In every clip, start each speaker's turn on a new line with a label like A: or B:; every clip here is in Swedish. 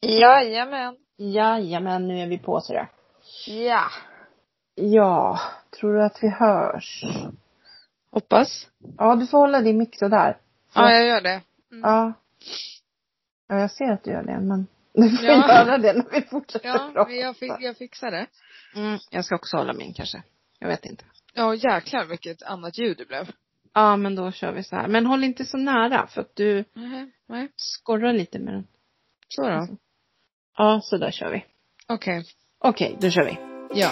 A: Jajamän.
B: Jajamän, nu är vi på sådär.
A: Ja.
B: Ja, tror du att vi hörs?
A: Hoppas.
B: Ja, du får hålla din mick sådär.
A: Ja, jag gör det.
B: Ja. Ja, jag ser att du gör det, men du får
A: Ja.
B: göra det när vi fortsätter
A: Ja,
B: prata.
A: men jag, fi- jag fixar det.
B: Mm, jag ska också hålla min kanske. Jag vet inte.
A: Ja, jäklar vilket annat ljud det blev.
B: Ja, men då kör vi så här. Men håll inte så nära för att du
A: Nej, nej.
B: skorrar lite med den.
A: Så då.
B: Ja, så där kör vi.
A: Okej.
B: Okej, då kör vi.
A: Ja.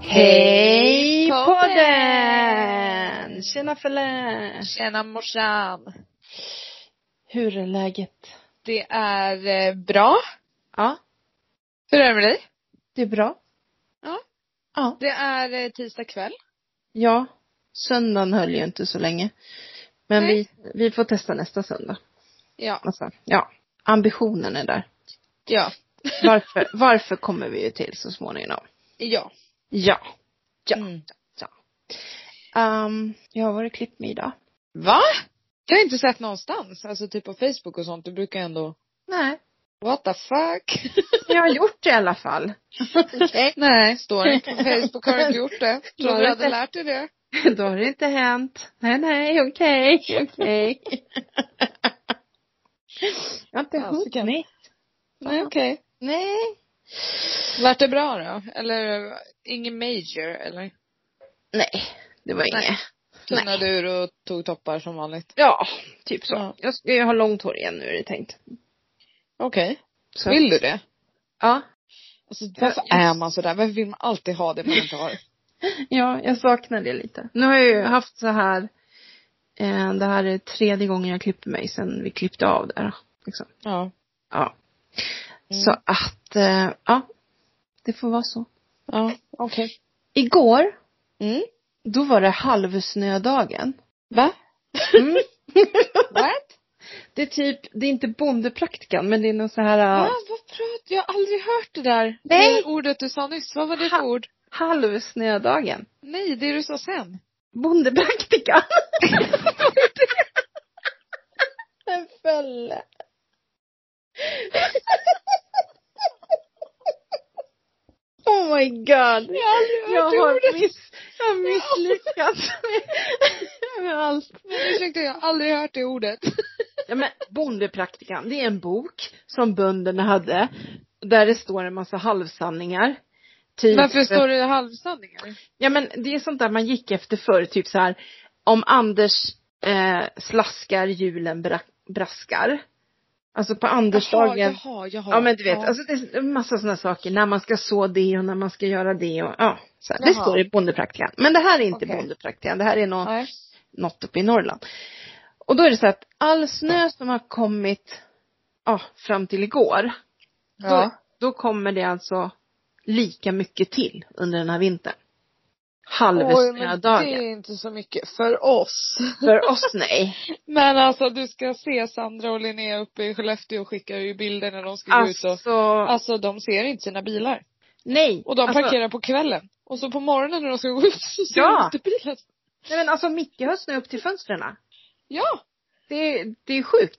B: Hej
A: Hej,
B: podden! Tjena Felle!
A: Tjena morsan.
B: Hur är läget?
A: Det är eh, bra.
B: Ja,
A: Hur är det med dig?
B: det är bra.
A: Ja.
B: Ja.
A: Det är eh, tisdag kväll.
B: Ja. Söndagen höll ju inte så länge. Men vi,
A: Nej.
B: vi får testa nästa söndag.
A: Ja.
B: Alltså, ja. Ambitionen är där.
A: Ja.
B: Varför, varför kommer vi ju till så småningom.
A: Ja.
B: Ja. Ja.
A: Mm.
B: Um, jag har varit klippt mig idag.
A: Va? Det har jag inte sett någonstans. Alltså typ på Facebook och sånt. Du brukar ändå,
B: Nej.
A: what the fuck?
B: Jag har gjort det i alla fall. Okej.
A: Nej, står det inte på Facebook har du inte gjort det. Tror du hade lärt dig det?
B: Då har det inte hänt. Nej, nej, okej, okej. jag har inte
A: Ja, så kan-
B: hunnit.
A: Nej, okej.
B: Nej.
A: Vart det bra då? Eller eh, ingen major eller?
B: Nej, det var
A: Nej.
B: inget.
A: Tunnade ur och tog toppar som vanligt.
B: Ja, typ så.
A: Ja.
B: Jag ska ju ha långt hår igen nu är det tänkt.
A: Okej.
B: Så.
A: Vill du det?
B: Ja.
A: Alltså, varför är man sådär? Varför vill man alltid ha det man inte har?
B: Ja, jag saknar det lite. Nu har jag ju haft så här, eh, det här är tredje gången jag klipper mig sen vi klippte av där. Liksom.
A: Ja.
B: Ja.
A: Mm.
B: Så att, eh, ja. Det får vara så.
A: Ja, okej.
B: Igår,
A: Mm.
B: då var det halvsnödagen.
A: Va?
B: Mm.
A: What?
B: det är typ, det är inte bondepraktikan men det är någon så här
A: Va?
B: eh,
A: Vad pratar Jag har aldrig hört det där.
B: Nej.
A: Det ordet du sa nyss. Vad var det för
B: Ha.
A: ord?
B: halvsnödagen.
A: Nej, det du sa sen.
B: Bondepraktikan. En fölle. Oh my god.
A: Jag har aldrig hört
B: Jag
A: det ordet.
B: har, miss, jag har misslyckats med, med allt.
A: Men ursäkta, jag har aldrig hört det ordet.
B: Ja, men bondepraktikan, det är en bok som bönderna hade. Där det står en massa halvsanningar. Typ,
A: Varför står det halvsanningar?
B: Ja men det är sånt där man gick efter förr, typ så här. Om Anders eh, slaskar, julen bra, braskar. Alltså på Andersdagen.
A: jaha, jaha.
B: Ja men du vet,
A: Ja.
B: alltså det är en massa sådana saker. När man ska så det och när man ska göra det och ja. Så här, det
A: Jaha.
B: står i bondepraktikan. Men det här är inte
A: Okej.
B: bondepraktikan. Det här är något
A: Nej.
B: något uppe i Norrland. Och då är det så att all snö som har kommit ja, fram till igår, då,
A: Ja.
B: då kommer det alltså lika mycket till under den här vintern.
A: Oj, men det
B: Halvsnödagen.
A: är inte så mycket för oss.
B: För oss nej.
A: Men alltså du ska se Sandra och Linnea uppe i Skellefteå skickar ju bilder när de ska gå ut
B: Alltså,
A: och Alltså de ser inte sina bilar.
B: nej.
A: Och de
B: alltså,
A: parkerar på kvällen. Och så på morgonen när de ska gå ut så ser
B: Ja.
A: de inte bilen.
B: Nej men alltså Micke har snö upp till fönstren.
A: Ja.
B: Det, det är sjukt.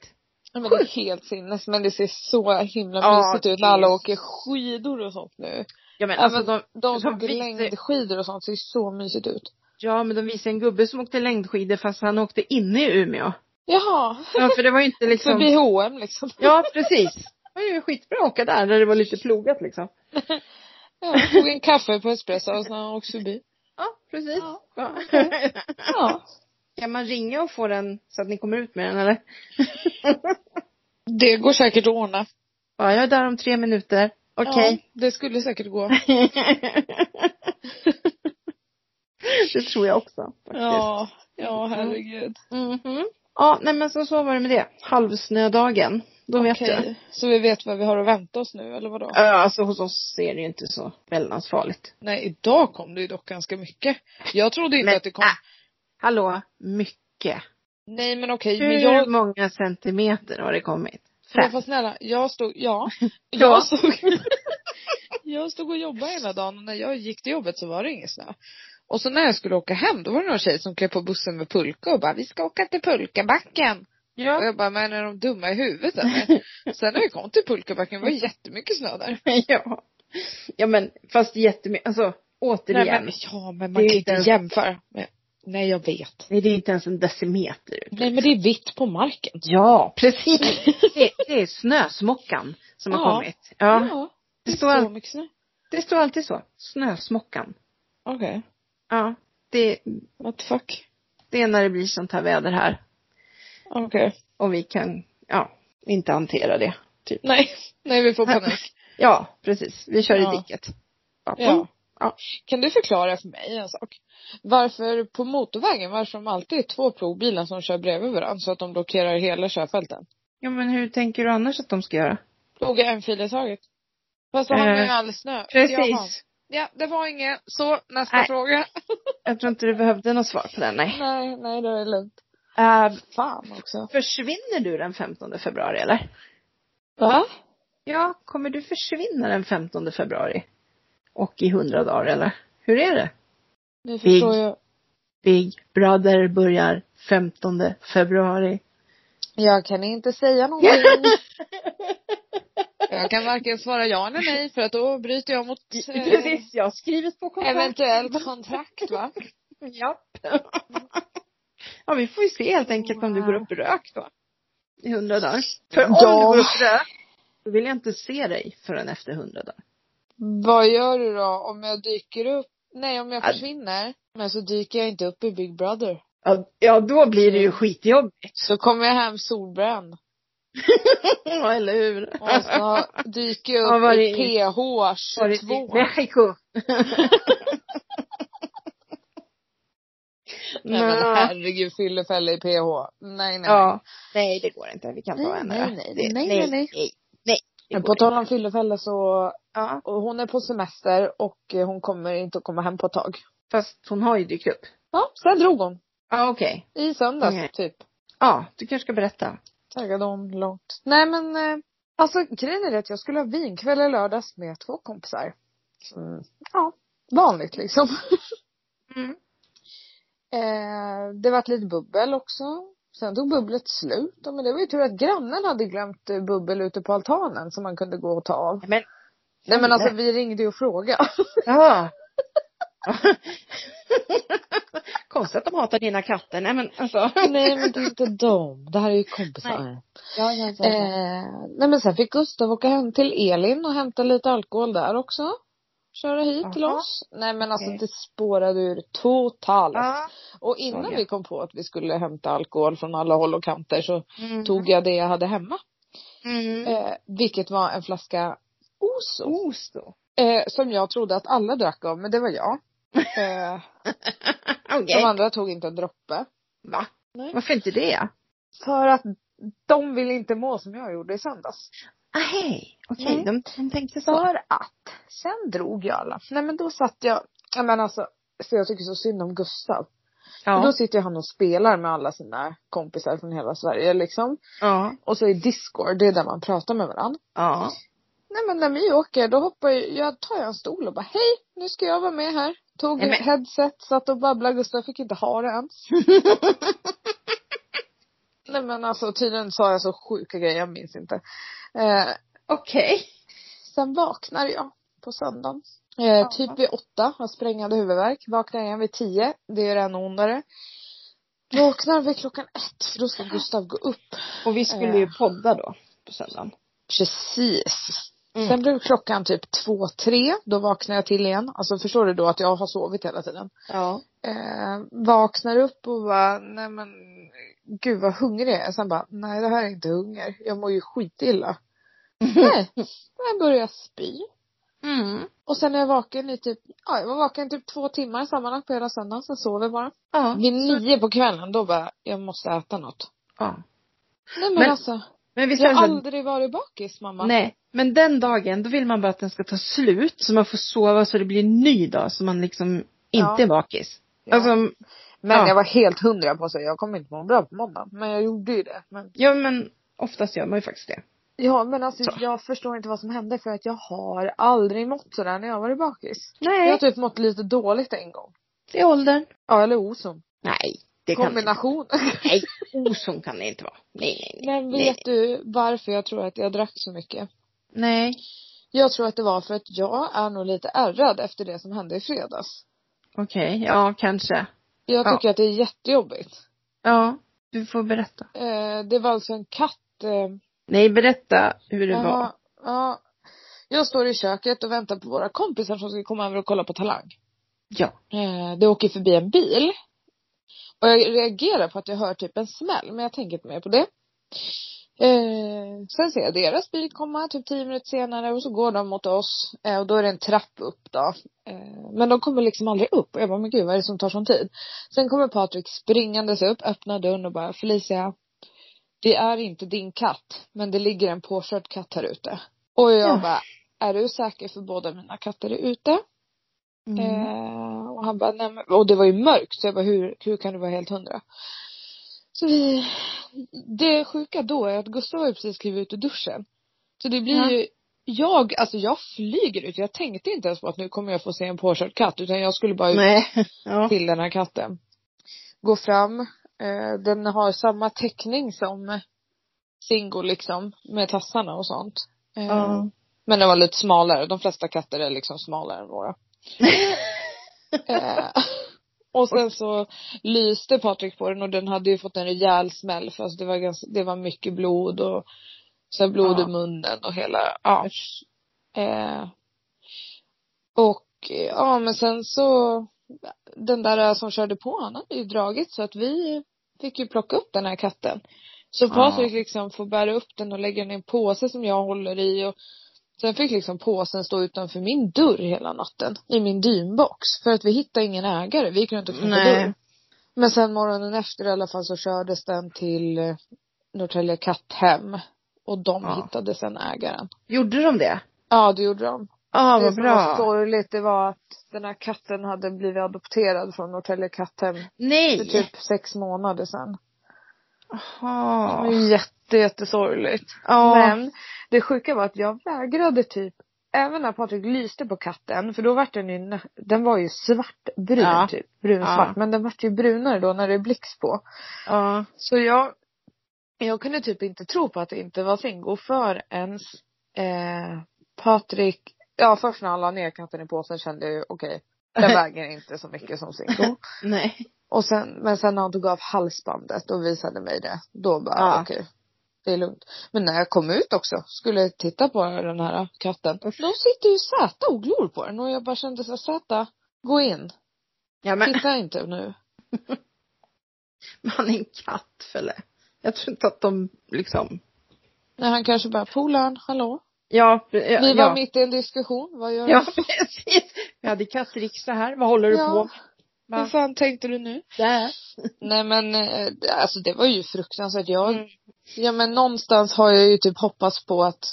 A: ja. Men det är helt sinnes. Men det ser så himla
B: Ja,
A: mysigt ut
B: det
A: när
B: är
A: alla
B: så-
A: åker skidor och sånt nu.
B: Ja men
A: Alltså,
B: alltså de,
A: De som
B: de
A: åker
B: visar-
A: längdskidor och sånt ser så mysigt ut.
B: ja men de visade en gubbe som åkte längdskidor fast han åkte inne i Umeå.
A: Jaha.
B: Ja för det var ju inte liksom.
A: Förbi H&M liksom.
B: Ja, precis. Det var ju skitbra att åka där när det var lite plogat liksom.
A: Ja, tog en kaffe på espresso och sen har han åkt förbi.
B: Ja, precis.
A: Ja. Ja.
B: Kan man ringa och få den så att ni kommer ut med den eller?
A: Det går säkert att ordna.
B: Ja, jag är där om tre minuter. Okej.
A: Ja, det skulle säkert gå.
B: det tror jag också faktiskt.
A: Ja, Mm-hmm. ja herregud.
B: Mhm. Ja, nej men så, så var det med det. Halvsnödagen. Då vet
A: Okej.
B: du.
A: Så vi vet vad vi har att vänta oss nu, eller vadå?
B: Ja, alltså hos oss är det ju inte så väldans farligt.
A: Nej, idag kom det ju dock ganska mycket. Jag trodde inte
B: Men-
A: att det kom.
B: ah. Hallå, mycket.
A: Nej men okej,
B: Hur
A: men jag,
B: många centimeter har det kommit?
A: men
B: Fem.
A: fast snälla, jag stod, ja.
B: Ja.
A: Jag stod, jag stod och jobbade hela dagen och när jag gick till jobbet så var det ingen snö. Och så när jag skulle åka hem, då var det någon tjej som klev på bussen med pulka och bara, vi ska åka till pulkabacken. Och
B: Ja.
A: jag bara, men är de dumma i huvudet eller? Sen när vi kom till pulkabacken var det jättemycket snö där.
B: ja. Ja men fast jättemycket, alltså återigen.
A: Nej,
B: Nej,
A: men, ja men
B: Det är
A: man kan
B: inte
A: inte
B: ens-
A: jämföra. Men, nej jag vet.
B: det är inte ens en decimeter ut.
A: Nej men det är vitt på marken.
B: Ja, precis. Det, det är snösmockan som har
A: Ja.
B: kommit. Ja. Det
A: Det är
B: står
A: så
B: all-
A: mycket snö.
B: Det står alltid så. Snösmockan.
A: Okej.
B: Ja. Det,
A: What the fuck.
B: det är när det blir sånt här väder här.
A: Okej.
B: Och vi kan, ja, inte hantera det. Typ.
A: Nej, nej vi får panik.
B: Ja, precis. Vi kör
A: Ja.
B: i diket. Ja.
A: Ja.
B: Ja.
A: Kan du förklara för mig en sak? Varför på motorvägen, varför de alltid är två plogbilar som kör bredvid varandra så att de blockerar hela körfälten?
B: ja, men hur tänker du annars att de ska göra?
A: Ploga en fil i taget. Fast då har man ju
B: Eh,
A: all snö. Jaha.
B: Precis.
A: Ja, det var inget. Så, nästa
B: Nej.
A: fråga.
B: Jag tror inte du behövde något svar på den, nej.
A: Nej, nej det är lugnt.
B: Eh,
A: Fan också.
B: försvinner du den 15 februari eller?
A: Va?
B: Ja, kommer du försvinna den 15 februari? Och i 100 dagar eller? Hur är det?
A: Nu förstår jag.
B: Big Brother börjar 15 februari.
A: Jag kan inte säga någonting. Jag kan varken svara ja eller nej för att då bryter jag mot eh,
B: Precis, jag har skrivit på kontrakt.
A: eventuellt kontrakt va.
B: Japp. ja, vi får ju se helt enkelt om du går upp i rök då. I 100 dagar. För om
A: Ja.
B: du går upp i rök, då vill jag inte se dig förrän efter 100 dagar.
A: Vad gör du då om jag dyker upp? Nej, om jag
B: Ja.
A: försvinner. Men så dyker jag inte upp i Big Brother.
B: Ja, ja, då blir det ju skitjobbigt.
A: Så kommer jag hem solbränd.
B: Ja, eller hur?
A: Och så dyker jag
B: Ja,
A: upp
B: var
A: i
B: det-
A: PH 22.
B: Mexiko.
A: Nej men herregud, fyllefälla i PH. Nej nej.
B: Ja. Nej, det går inte. Vi kan ta
A: Nej,
B: henne.
A: nej, nej. Nej, nej, nej.
B: nej. nej. Det
A: Men
B: går
A: på tal
B: inte.
A: om fyllefälla så,
B: Ja,
A: och hon är på semester och eh, hon kommer inte att komma hem på ett tag.
B: fast hon har ju dykt upp.
A: Ja, sen drog hon.
B: Ja, okej.
A: I söndags
B: Nej.
A: typ.
B: Ja, du kanske ska berätta.
A: taggade hon långt. Nej men, eh, alltså grejen är det att jag skulle ha vinkväll i lördags med två kompisar. Mm. Ja, vanligt liksom.
B: Mm.
A: Eh, det vart lite bubbel också. Sen tog bubblet slut. Ja, Men det var ju tur att grannen hade glömt eh, bubbel ute på altanen som man kunde gå och ta av.
B: Men,
A: Nej men alltså vi ringde ju och frågade.
B: ja. Konstigt att de hatar dina katter. Nej, men alltså.
A: Nej men det är inte dem. Det här är ju kompisar.
B: Ja, ja,
A: Eh, nej men sen fick Gustav åka hem till Elin och hämta lite alkohol där också. Köra hit till
B: Jaha.
A: oss. Nej men alltså
B: Okej.
A: det spårade ur totalt.
B: ja.
A: Och innan
B: Såg jag.
A: vi kom på att vi skulle hämta alkohol från alla håll och kanter så
B: Mm.
A: tog jag det jag hade hemma.
B: Mm.
A: Eh, vilket var en flaska Oso.
B: Os då.
A: Eh, som jag trodde att alla drack av men det var jag. Eh,
B: Okej.
A: de andra tog inte en droppe.
B: Va?
A: Nej.
B: Varför inte det?
A: För att de ville inte må som jag gjorde i söndags.
B: Ah, hej. Okej,
A: Nej.
B: de, de tänkte så.
A: För att sen drog jag alla. Nej men då satt jag, ja men alltså, så jag tycker så synd om Gustav. För Då
B: Ja.
A: sitter han och spelar med alla sina kompisar från hela Sverige liksom.
B: Ja.
A: Och så i Discord, det är där man pratar med varandra.
B: Ja.
A: Nej men när vi åker då hoppar jag, jag tar jag en stol och bara hej, nu ska jag vara med här. Tog
B: Nej, men-
A: ett headset, satt och babblade, Gustav fick inte ha det ens. Nej men alltså tydligen sa jag så sjuka grejer, jag minns inte. Eh,
B: Okej.
A: Sen vaknar jag på söndagen. Eh, Typ vid åtta, har sprängande huvudvärk. Vaknar igen vid tio, det gör ännu ondare. Vaknar vid klockan ett, för då ska Gustav gå upp.
B: Och vi skulle ju podda då på söndagen.
A: Precis.
B: Mm.
A: Sen blev klockan typ två, tre. Då vaknar jag till igen. Alltså förstår du då att jag har sovit hela tiden.
B: Ja.
A: Eh, vaknar upp och bara, nej men gud vad hungrig jag är. Sen bara, nej det här är inte hunger. Jag mår ju skitilla. nej. Jag börjar spy.
B: Mm.
A: Och sen är jag vaken i typ, ja jag var vaken typ två timmar sammanlagt på hela söndagen, sen sov jag bara.
B: Ja.
A: Vid nio på kvällen då bara, jag måste äta något.
B: ja.
A: Nej men,
B: Men-
A: alltså.
B: Men visst
A: Jag
B: är det
A: har
B: så här,
A: aldrig varit bakis mamma.
B: Nej, men den dagen då vill man bara att den ska ta slut så man får sova så det blir en ny dag så man liksom inte
A: Ja.
B: är bakis.
A: Ja.
B: Alltså,
A: Men
B: Ja.
A: jag var helt hundra på att jag kommer inte må bra på måndag. Men jag gjorde ju det. Men,
B: ja men oftast gör man ju faktiskt det.
A: ja men alltså
B: Så.
A: jag förstår inte vad som hände för att jag har aldrig mått sådär när jag varit bakis. Jag har
B: Nej,
A: typ mått lite dåligt en gång.
B: det är åldern.
A: Ja eller oson.
B: Nej, det kan det inte.
A: Kombination.
B: Nej, oson kan det inte vara. Nej, nej, nej.
A: Men vet du varför jag tror att jag drack så mycket?
B: Nej.
A: Jag tror att det var för att jag är nog lite ärrad efter det som hände i fredags.
B: Okej, ja kanske.
A: Jag
B: Ja.
A: tycker att det är jättejobbigt.
B: Ja, du får berätta.
A: Eh, det var alltså en katt eh,
B: Nej, berätta hur det var.
A: Ja, ja. Jag står i köket och väntar på våra kompisar som ska komma över och kolla på Talang.
B: Ja.
A: Eh, det åker förbi en bil. Och jag reagerar på att jag hör typ en smäll, men jag tänker inte mer på det. Eh, sen ser jag deras bil komma typ tio minuter senare och så går de mot oss. Eh, och då är det en trapp upp då. Eh, men de kommer liksom aldrig upp. Och jag bara, men gud vad är det som tar sån tid? Sen kommer Patrik springandes upp, öppnar dörren och bara, Felicia. Det är inte din katt, men det ligger en påkörd katt här ute. Och jag
B: Ja.
A: bara, är du säker för båda mina katter är ute?
B: Mm.
A: Eh, och han bara, nej men, och det var ju mörkt så jag bara, hur, hur kan du vara helt hundra? Så vi, det sjuka då är att Gustav har ju precis klivit ut ur duschen. Så det blir
B: Ja.
A: ju, jag, alltså jag flyger ut. Jag tänkte inte ens på att nu kommer jag få se en påkörd katt utan jag skulle bara ut
B: Nej. Ja.
A: till den här katten. Går fram, eh, den har samma täckning som Singo liksom med tassarna och sånt. Eh,
B: Ja.
A: Men den var lite smalare. De flesta katter är liksom smalare än våra. Eh, och sen så lyste Patrik på den och den hade ju fått en rejäl smäll för alltså det var ganska, det var mycket blod och så här blod
B: Ja.
A: i munnen och hela, ja. Eh, och eh, ja men sen så den där som körde på han hade ju dragit så att vi fick ju plocka upp den här katten. Så
B: Ja.
A: Patrik liksom får bära upp den och lägga den i en påse som jag håller i och sen fick liksom påsen stå utanför min dörr hela natten i min dynbox för att vi hittade ingen ägare. Vi kunde inte knacka
B: Nej.
A: dörr. Men sen morgonen efter i alla fall så kördes den till eh, Norrtälje katthem och de
B: Ja.
A: hittade sen ägaren.
B: Gjorde de det?
A: Ja det gjorde de.
B: Ja,
A: det
B: vad
A: som var
B: bra.
A: sorgligt det var att den här katten hade blivit adopterad från Norrtälje katthem för
B: Nej.
A: typ sex månader sedan. Det var
B: Jaha.
A: ju jätte, jättesorgligt.
B: Ja.
A: Men det sjuka var att jag vägrade typ Även när Patrik lyste på katten, för då var den ju, nä- den var ju svartbrun
B: Ja.
A: typ, brunsvart.
B: Ja.
A: Men den var ju brunare då när det är blixt på.
B: Ja.
A: Så jag, jag kunde typ inte tro på att det inte var Singo förrän eh, Patrik, ja först när han la ner katten i påsen kände jag ju okej, den väger inte så mycket som Singo.
B: Nej.
A: Och sen, men sen när han tog av halsbandet och visade mig det, då bara
B: Ja.
A: okej. Det är lugnt. Men när jag kom ut också, skulle titta på den här katten. Då sitter ju Zäta och glor på den och jag bara kände så här, Zäta, gå in.
B: Ja men
A: Titta inte nu.
B: man är en katt Felle. Jag tror inte att de liksom.
A: Nej han kanske bara, polaren, hallå?
B: Ja. ja
A: Vi var
B: ja.
A: mitt i en diskussion, vad gör du?
B: Ja precis. Vi hade kattriksdag här. Vad håller du
A: Ja.
B: på
A: Hur
B: med?
A: fan tänkte du nu?
B: Där.
A: Nej men eh, alltså det var ju fruktansvärt. Jag,
B: Mm.
A: ja men någonstans har jag ju typ hoppats på att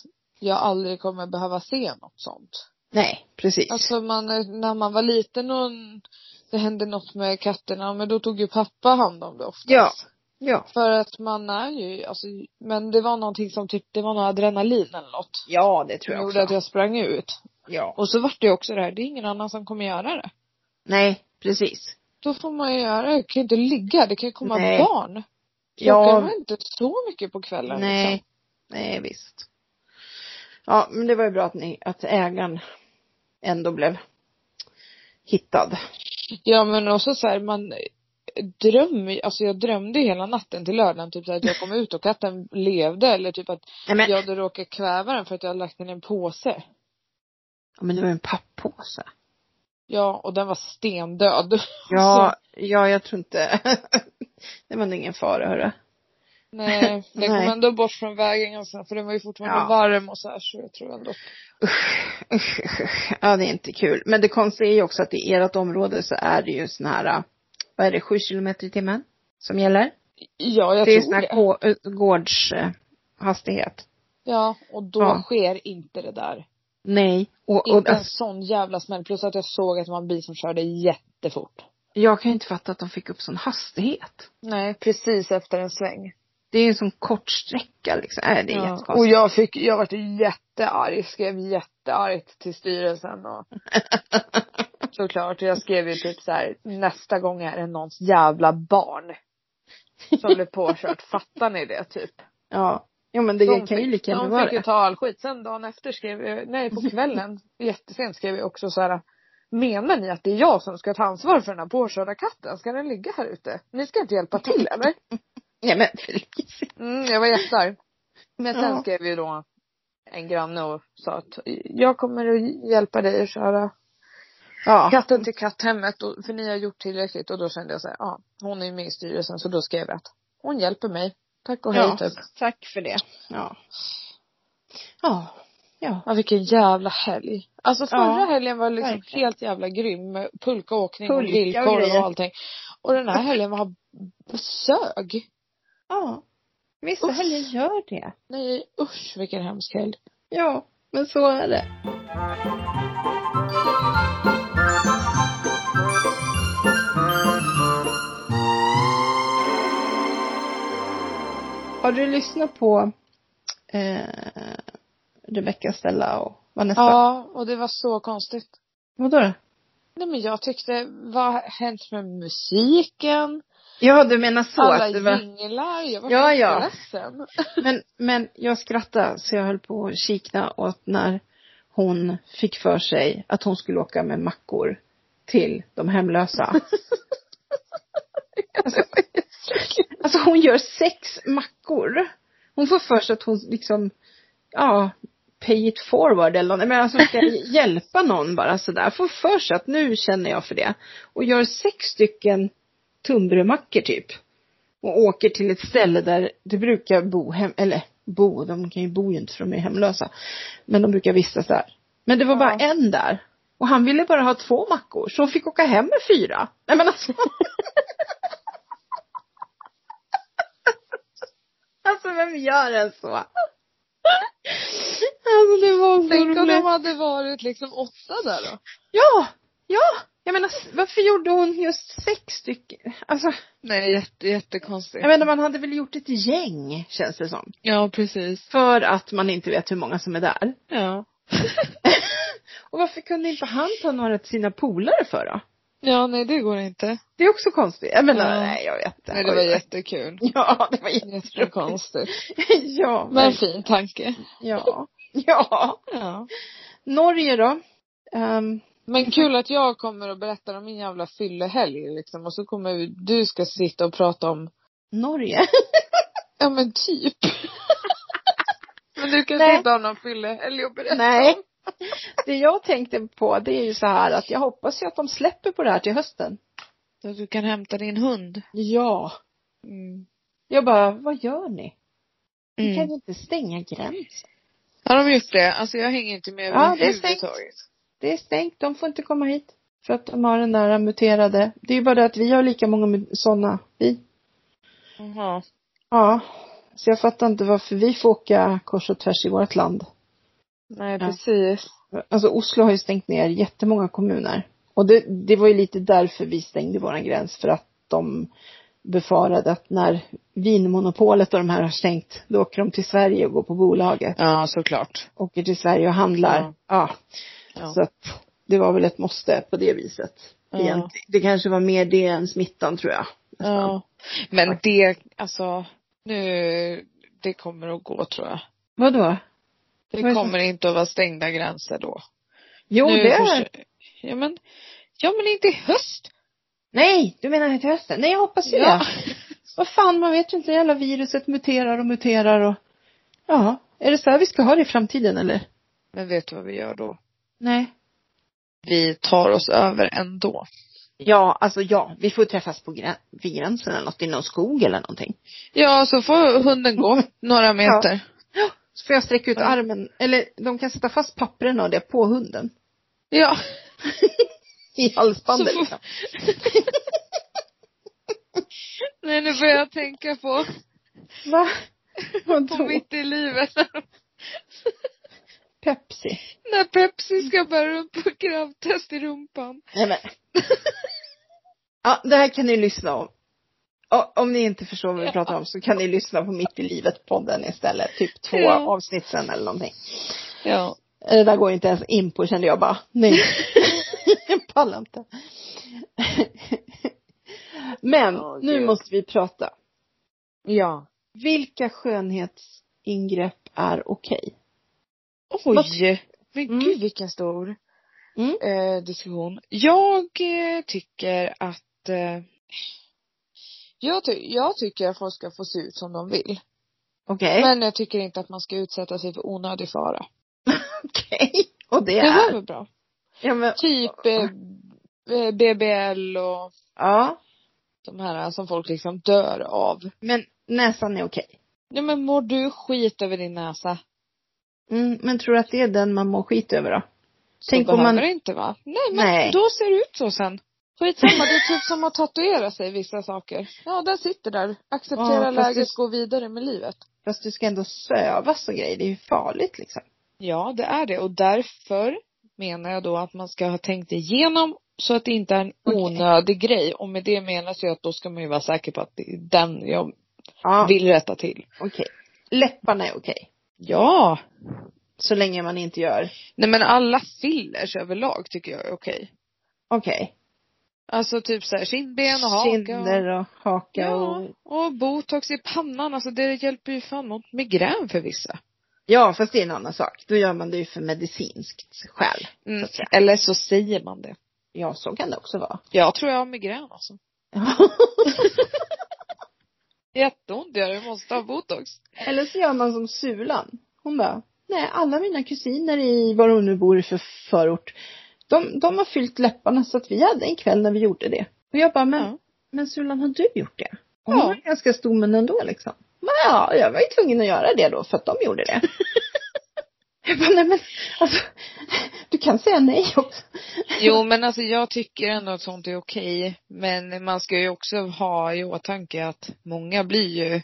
A: jag aldrig kommer behöva se något sånt.
B: Nej precis.
A: Alltså man, eh, när man var liten och n- det hände något med katterna, men då tog ju pappa hand om det oftast.
B: Ja. Ja.
A: För att man är ju, alltså, men det var någonting som typ, det var något adrenalin eller något.
B: Ja det
A: Som
B: tror jag
A: gjorde att
B: också.
A: jag sprang ut.
B: Ja.
A: Och så vart det ju också det här, det är ingen annan som kommer göra det.
B: Nej precis.
A: Då får man ju göra det, det kan ju inte ligga, det kan ju komma
B: Nej.
A: barn. Klockan
B: Ja.
A: var inte så mycket på kvällen
B: Nej.
A: Liksom.
B: Nej visst. Ja men det var ju bra att ni, att ägaren ändå blev hittad.
A: Ja men också så här, man drömmer, alltså jag drömde ju hela natten till lördagen typ så här, att jag kom ut och katten levde eller typ att
B: Nej men.
A: jag hade råkat kväva den för att jag hade lagt den i en påse.
B: Ja, men det var ju en pappåse.
A: Ja och den var stendöd.
B: Ja, ja jag tror inte. det var nog ingen fara hörru.
A: Nej, den kom
B: Nej.
A: ändå bort från vägen ganska för den var ju fortfarande
B: Ja.
A: varm och så här så jag tror ändå.
B: Usch, usch, usch. Ja det är inte kul. Men det konstiga är ju också att i ert område så är det ju sån här, äh, vad är det, sju kilometer i timmen som gäller?
A: Ja jag
B: det är ju
A: tror
B: sån här äh, gå-
A: det.
B: gårds, eh, hastighet.
A: Ja, och då
B: Ja.
A: sker inte det där.
B: Nej. Och, och
A: Inte en
B: alltså,
A: sån jävla smäll. Plus att jag såg att det var en bil som körde jättefort.
B: jag kan ju inte fatta att de fick upp sån hastighet.
A: Nej, precis efter en sväng.
B: Det är ju en sån kort sträcka liksom. Nej, det är
A: Ja.
B: jättekonstigt.
A: Och jag fick, jag vart jättearg, skrev jätteargt till styrelsen och såklart. Jag skrev ju typ så här, nästa gång är det någons jävla barn som blev påkört. Fattar ni det typ?
B: Ja. Ja men det
A: De
B: kan ju
A: fick-
B: lika gärna
A: De
B: vara
A: fick ju
B: det.
A: ta all skit. Sen dagen efter skrev jag, nej på kvällen, jättesent skrev jag också så här. Menar ni att det är jag som ska ta ansvar för den här påkörda katten? Ska den ligga här ute? Ni ska inte hjälpa till eller?
B: Nej men precis.
A: Mm, jag var jättearg. Men sen
B: Ja.
A: skrev ju då en granne och sa att jag kommer att hjälpa dig att köra
B: Ja.
A: katten till katthemmet och, för ni har gjort tillräckligt och då kände jag så här, ja hon är ju med i styrelsen så då skrev jag att hon hjälper mig. Tack och hej
B: ja.
A: typ.
B: Tack för det. Ja. Ja. Ja.
A: Ja vilken jävla helg. Alltså förra
B: Ja,
A: helgen var liksom
B: verkligen.
A: helt jävla grym med pulkaåkning
B: Pulka och
A: och grillkorv
B: grejer.
A: och allting. Och den här helgen var sög.
B: Ja. Vissa
A: Uff.
B: helger gör det.
A: Nej usch vilken hemsk helg.
B: Ja. Men så är det. Har du lyssnat på eh, Rebecca Stella och Vanessa?
A: Ja och det var så konstigt.
B: Vadå då?
A: Nej men jag tyckte, vad har hänt med musiken?
B: Ja, du menar så.
A: alla
B: att det var...
A: jinglar, jag var
B: Ja, ja.
A: ledsen.
B: men, men jag skrattade så jag höll på att kikna åt när hon fick för sig att hon skulle åka med mackor till de hemlösa. alltså, alltså hon gör sex mackor. Hon får för sig att hon liksom, ja, pay it forward eller något. Men alltså ska jag hjälpa någon bara sådär. Får för sig att nu känner jag för det. Och gör sex stycken tunnbrödmackor typ och åker till ett ställe där det brukar bo hem, eller bo, de kan ju bo ju inte för de är hemlösa. Men de brukar vistas där. Men det var bara
A: Ja.
B: en där. Och han ville bara ha två mackor, så hon fick åka hem med fyra. Nej men alltså. alltså vem gör en så? Alltså det var så
A: Tänk om
B: roligt.
A: de hade varit liksom åtta där då.
B: Ja! Ja! Jag menar s- varför gjorde hon just sex stycken? Alltså,
A: Nej, jätte, jättekonstigt.
B: jag menar man hade väl gjort ett gäng känns det som.
A: Ja, precis.
B: För att man inte vet hur många som är där.
A: Ja.
B: Och varför kunde inte han ta några till sina polare för då?
A: Ja, nej det går inte.
B: Det är också konstigt. Jag menar,
A: Ja.
B: nej jag vet inte.
A: Nej, det var jättekul.
B: Ja, det var jätte...
A: Jättekonstigt.
B: ja,
A: Men
B: men...
A: fin tanke.
B: ja. Ja.
A: Ja.
B: Norge då? Ehm,
A: Men kul att jag kommer och berättar om min jävla fyllehelg liksom och så kommer vi- du ska sitta och prata om,
B: Norge?
A: ja men typ. men du kanske
B: Nej.
A: inte har någon fyllehelg att berätta
B: nej.
A: om?
B: Det jag tänkte på det är ju så här att jag hoppas ju att de släpper på det här till hösten.
A: Så att du kan hämta din hund.
B: Ja.
A: Mm.
B: Jag bara, vad gör ni? Ni
A: Mm.
B: kan ju inte stänga gränsen.
A: Har de gjort det? Alltså jag hänger inte med
B: Ja, det är
A: överhuvudtaget.
B: Det är stängt, de får inte komma hit. För att de har den där muterade. Det är ju bara det att vi har lika många sådana, vi.
A: Jaha.
B: Ja. Så jag fattar inte varför vi får åka kors och tvärs i vårt land.
A: Nej,
B: Ja.
A: precis.
B: Alltså Oslo har ju stängt ner jättemånga kommuner. Och det, det var ju lite därför vi stängde våran gräns. För att de befarade att när vinmonopolet och de här har stängt, då åker de till Sverige och går på bolaget.
A: Ja, såklart.
B: Åker till Sverige och handlar.
A: Ja.
B: ja.
A: Ja.
B: Så att det var väl ett måste på det viset.
A: Ja.
B: Egentligen. Det kanske var mer det än smittan tror jag.
A: ja. Men det, alltså, nu, det kommer att gå tror jag.
B: Vadå? Vad är
A: Det
B: det
A: kommer inte att vara stängda gränser då.
B: Jo,
A: nu
B: det är...
A: försö- Ja men, ja men inte i höst.
B: Nej, du menar till hösten? Nej, jag hoppas ju det. Vad fan, man vet ju inte. Det jävla viruset muterar och muterar och... Ja, är det så här vi ska ha det i framtiden eller?
A: Men vet du vad vi gör då?
B: Nej.
A: Vi tar oss över ändå.
B: Ja, alltså ja, vi får träffas på grä- vid gränsen eller något, i någon skog eller någonting.
A: Ja, så får hunden gå några meter.
B: Så får jag sträcka ut
A: Ja.
B: armen, eller de kan sätta fast pappren och det på hunden.
A: Ja.
B: I halsbandet
A: Så får-
B: liksom.
A: Nej, nu börjar jag tänka på
B: Va? Vadå?
C: På mitt i livet.
B: Pepsi.
C: När Pepsi ska bära upp på kravtest i rumpan.
B: Nej men. ja, det här kan ni lyssna om. O- Om ni inte förstår vad vi pratar om så kan ni lyssna på Mitt i livet-podden istället. Typ två
C: Ja.
B: avsnitt sen eller någonting. Eh,
C: Ja.
B: Det där går inte ens in på kände jag bara. Nej. jag pallar inte. Men
A: Åh,
B: nu
A: Gud.
B: måste vi prata.
A: Ja.
B: Vilka skönhetsingrepp är okej?
A: Oj! Men
B: Mm.
A: gud vilken stor
B: Mm.
A: eh, diskussion. Jag eh, tycker att eh, jag, ty- jag tycker att folk ska få se ut som de vill.
B: Eh. Okej.
A: Men jag tycker inte att man ska utsätta sig för onödig fara.
B: Okej. Och det
A: Det var
B: är?
A: väl bra.
B: Ja. Men,
A: Typ eh, eh, BBL och
B: ja.
A: de här som folk liksom dör av.
B: men näsan är okej.
A: Nej men mår du skit över din näsa?
B: Mm, men tror du att det är den man mår skit över då?
A: Så
B: Tänk om
A: behöver
B: man-
A: det inte va? Nej men
B: Nej.
A: då ser det ut så sen. Skitsamma, det är typ som att tatuera sig vissa saker. Ja, den sitter där. Acceptera
B: Ja, fast
A: läget,
B: det-
A: gå vidare med livet.
B: Fast du ska ändå sövas och grejer. Det är ju farligt liksom.
A: Ja, det är det. Och därför menar jag då att man ska ha tänkt igenom så att det inte är en
B: Okej.
A: onödig grej. Och med det menas ju att då ska man ju vara säker på att det är den jag
B: Ja.
A: vill rätta till.
B: Okej. Läpparna är okej.
A: Ja!
B: Så länge man inte gör.
A: Nej men alla fillers överlag tycker jag är okej.
B: Okej.
A: Alltså typ såhär kindben och haka. och-
B: Kinder och haka
A: Ja,
B: och...
A: och botox i pannan, alltså det hjälper ju fan mot migrän för vissa.
B: Ja, fast det är en annan sak. Då gör man det ju för medicinskt skäl.
A: Mm. Eller så säger man det.
B: Ja, så kan det också vara.
A: Jag tror jag har migrän alltså. Jätteont gör det, jag måste ha botox.
B: Eller så gör man som Sulan. Hon bara, nej alla mina kusiner i, var hon nu bor i för förort, de, de har fyllt läpparna så att vi hade en kväll när vi gjorde det. Och jag bara, men,
A: Ja.
B: men Sulan har du gjort det? Och hon
A: Ja.
B: var ganska stor men ändå liksom. Men ja, jag var ju tvungen att göra det då för att de gjorde det. jag bara, nej men alltså, du kan säga nej också.
A: Jo men alltså jag tycker ändå att sånt är okej. Men man ska ju också ha i åtanke att många blir ju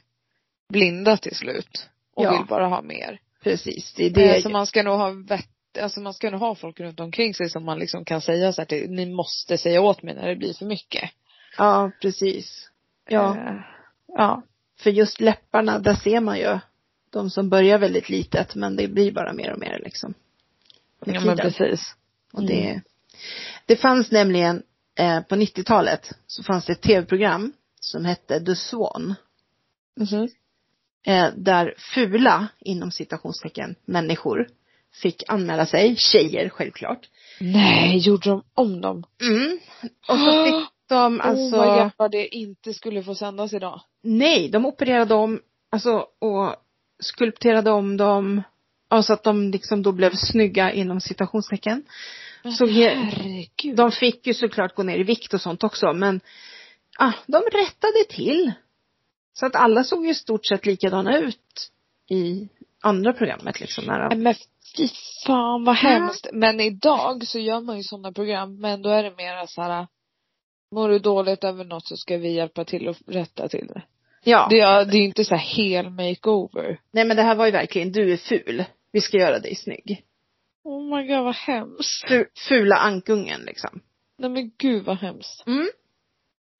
A: blinda till slut. Och
B: Ja.
A: vill bara ha mer.
B: Precis, det är
A: Det
B: det.
A: Eh, Så man ska nog ha vett, alltså man ska nog ha folk runt omkring sig som man liksom kan säga så här till, ni måste säga åt mig när det blir för mycket.
B: Ja, precis. Ja.
A: Eh, ja.
B: För just läpparna, där ser man ju de som börjar väldigt litet men det blir bara mer och mer liksom. Med
A: Ja men
B: tiden.
A: precis. Mm.
B: Och det, det fanns nämligen eh, på 90-talet så fanns det ett tv-program som hette The Swan.
A: Mhm.
B: Eh, där fula, inom citationstecken, människor fick anmäla sig, tjejer självklart.
A: Nej, gjorde de om dem?
B: Mm. Och så fick de alltså,
A: Oh my god vad det inte skulle få sändas idag.
B: nej, de opererade om, alltså och skulpterade om dem. Ja, så att de liksom då blev snygga inom citationstecken. Så he-
A: herregud.
B: De fick ju såklart gå ner i vikt och sånt också men ah, de rättade till. Så att alla såg ju i stort sett likadana ut i andra programmet liksom. När
A: Nej,
B: de,
A: Men fy fan vad hemskt. Men idag så gör man ju sådana program men då är det mera så här Mår du dåligt över något så ska vi hjälpa till och rätta till det.
B: ja,
A: Det är, det är inte så här hel makeover.
B: nej men det här var ju verkligen, du är ful. Vi ska göra dig snygg.
A: Oh my god vad hemskt.
B: Fu- Fula ankungen liksom.
A: Nej men gud vad hemskt.
B: Mm.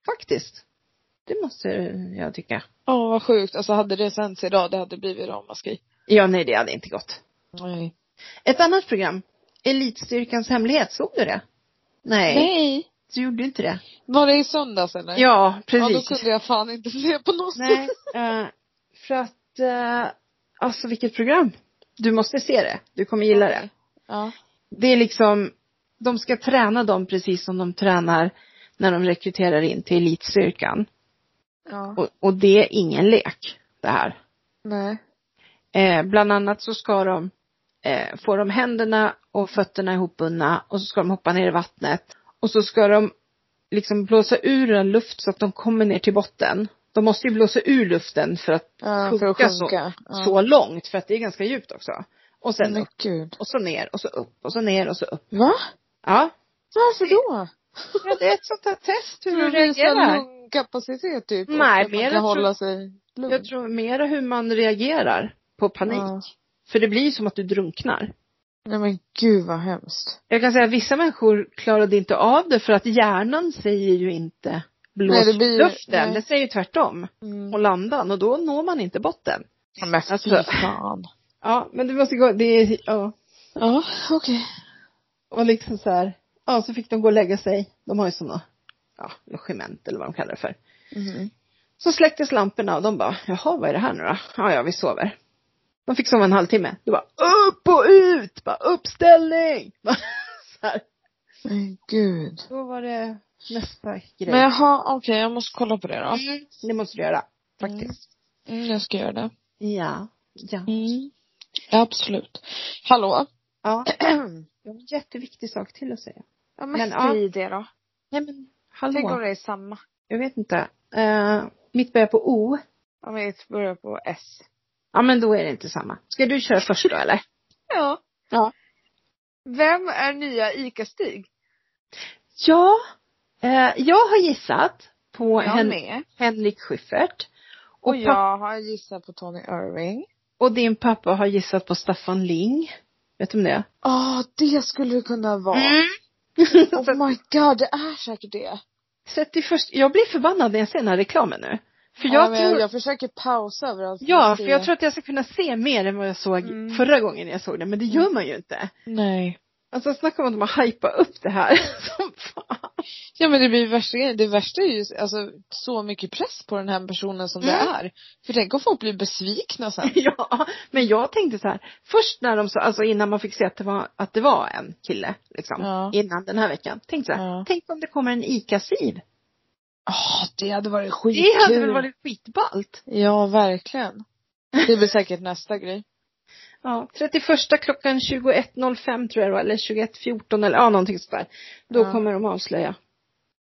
B: Faktiskt. Det måste jag tycka.
A: Åh vad sjukt. Alltså hade det sänts idag det hade blivit ramaskri.
B: Ja, nej det hade inte gått.
A: Nej.
B: Ett annat program, Elitstyrkans hemlighet, såg du det? Nej,
A: Nej.
B: du gjorde inte det.
A: Var det i söndags eller?
B: Ja, precis.
A: Ja, då kunde jag fan inte se på något
B: Nej,
A: sätt.
B: eh, för att, eh, alltså vilket program. Du måste se det. Du kommer gilla det.
A: Ja.
B: Det är liksom, de ska träna dem precis som de tränar när de rekryterar in till elitstyrkan.
A: ja.
B: Och, och det är ingen lek, det här.
A: Nej.
B: Eh, bland annat så ska de, eh, få de händerna och fötterna ihopbundna och så ska de hoppa ner i vattnet. Och så ska de liksom blåsa ur en luft så att de kommer ner till botten. De måste ju blåsa ur luften för att
A: Ja, för att
B: Sjunka så-
A: sjunka. Ja. Mm.
B: så långt för att det är ganska djupt också. Och sen
A: Men
B: upp
A: gud.
B: och så ner och så upp och så ner och så upp.
A: Va?
B: Ja.
A: Varför då?
B: ja det är ett sånt här test hur
A: För
B: du
A: att visa
B: reagerar.
A: lung- kapacitet typ.
B: Nej,
A: Och
B: men
A: att man
B: jag
A: kan
B: tror-
A: hålla sig lugn.
B: Jag tror mera hur man reagerar på panik.
A: Ja.
B: För det blir som att du drunknar.
A: Nej men gud vad hemskt.
B: Jag kan säga att vissa människor klarade inte av det för att hjärnan säger ju inte blås
A: Nej, det blir-
B: luften.
A: nej.
B: Det säger ju tvärtom.
A: Mm.
B: Håll andan och då når man inte botten.
A: Men fy
B: Alltså-
A: fan.
B: Ja, men du måste gå, det är, ja.
A: Ja, okej.
B: Och liksom så här, ja så fick de gå och lägga sig. De har ju sådana, ja, logement eller vad de kallar det för. Mm.
A: Mhm.
B: Så släcktes lamporna och de bara, jaha vad är det här nu då? Ja, ja vi sover. De fick sova en halvtimme. Det var upp och ut, bara uppställning. så här.
A: Men gud.
B: Då var det nästa grej.
A: Men jaha, okej jag måste kolla på det då.
B: Mm, det måste du göra. Faktiskt.
A: Mm, jag ska göra det.
B: Ja. Ja.
A: Mm. Ja, absolut. Hallå?
B: ja. Jag har en jätteviktig sak till att säga.
A: Ja,
B: Men, ja.
A: i det då.
B: Nej men, hallå.
A: det är samma.
B: Jag vet inte. Eh, mitt börjar på O.
A: Om vi börjar på S.
B: Ja men då är det inte samma. Ska du köra först då eller?
A: Ja.
B: Ja.
A: Vem är nya ICA-Stig?
B: Ja. Eh, jag har gissat på
A: Jag
B: Hen-
A: med.
B: Henrik Schyffert. Och,
A: Och
B: pappa,
A: jag har gissat på Tony Irving.
B: och din pappa har gissat på Staffan Ling. Vet du om det?
A: Ja, det skulle det kunna vara.
B: Mm.
A: Oh my god, det är säkert det.
B: Sätt i först, jag blir förbannad när jag ser den här reklamen nu. För
A: ja,
B: jag
A: men
B: tror,
A: jag försöker pausa överallt.
B: ja, för
A: se.
B: jag tror att jag ska kunna se mer än vad jag såg
A: Mm.
B: förra gången jag såg den, men det gör man ju inte.
A: Nej.
B: Alltså snacka om att de har hypat upp det här som fan.
A: Ja men det blir värsta grejen. Det värsta är ju alltså, så mycket press på den här personen som det
B: Mm.
A: är. För tänk om folk blir besvikna sen.
B: Ja, men jag tänkte så här, först när de sa, alltså innan man fick se att det var, att det var en kille, liksom,
A: Ja.
B: innan den här veckan, tänkte så här,
A: Ja.
B: tänk om det kommer en ICA-siv.
A: Ja, det hade varit
B: Det
A: skitkul.
B: hade väl varit skitballt.
A: Ja, verkligen. Det blir säkert nästa grej.
B: Ja, 31 klockan 21.05 tror jag det var, eller 21.14 eller ja, någonting sådär. Då
A: Ja.
B: kommer de avslöja.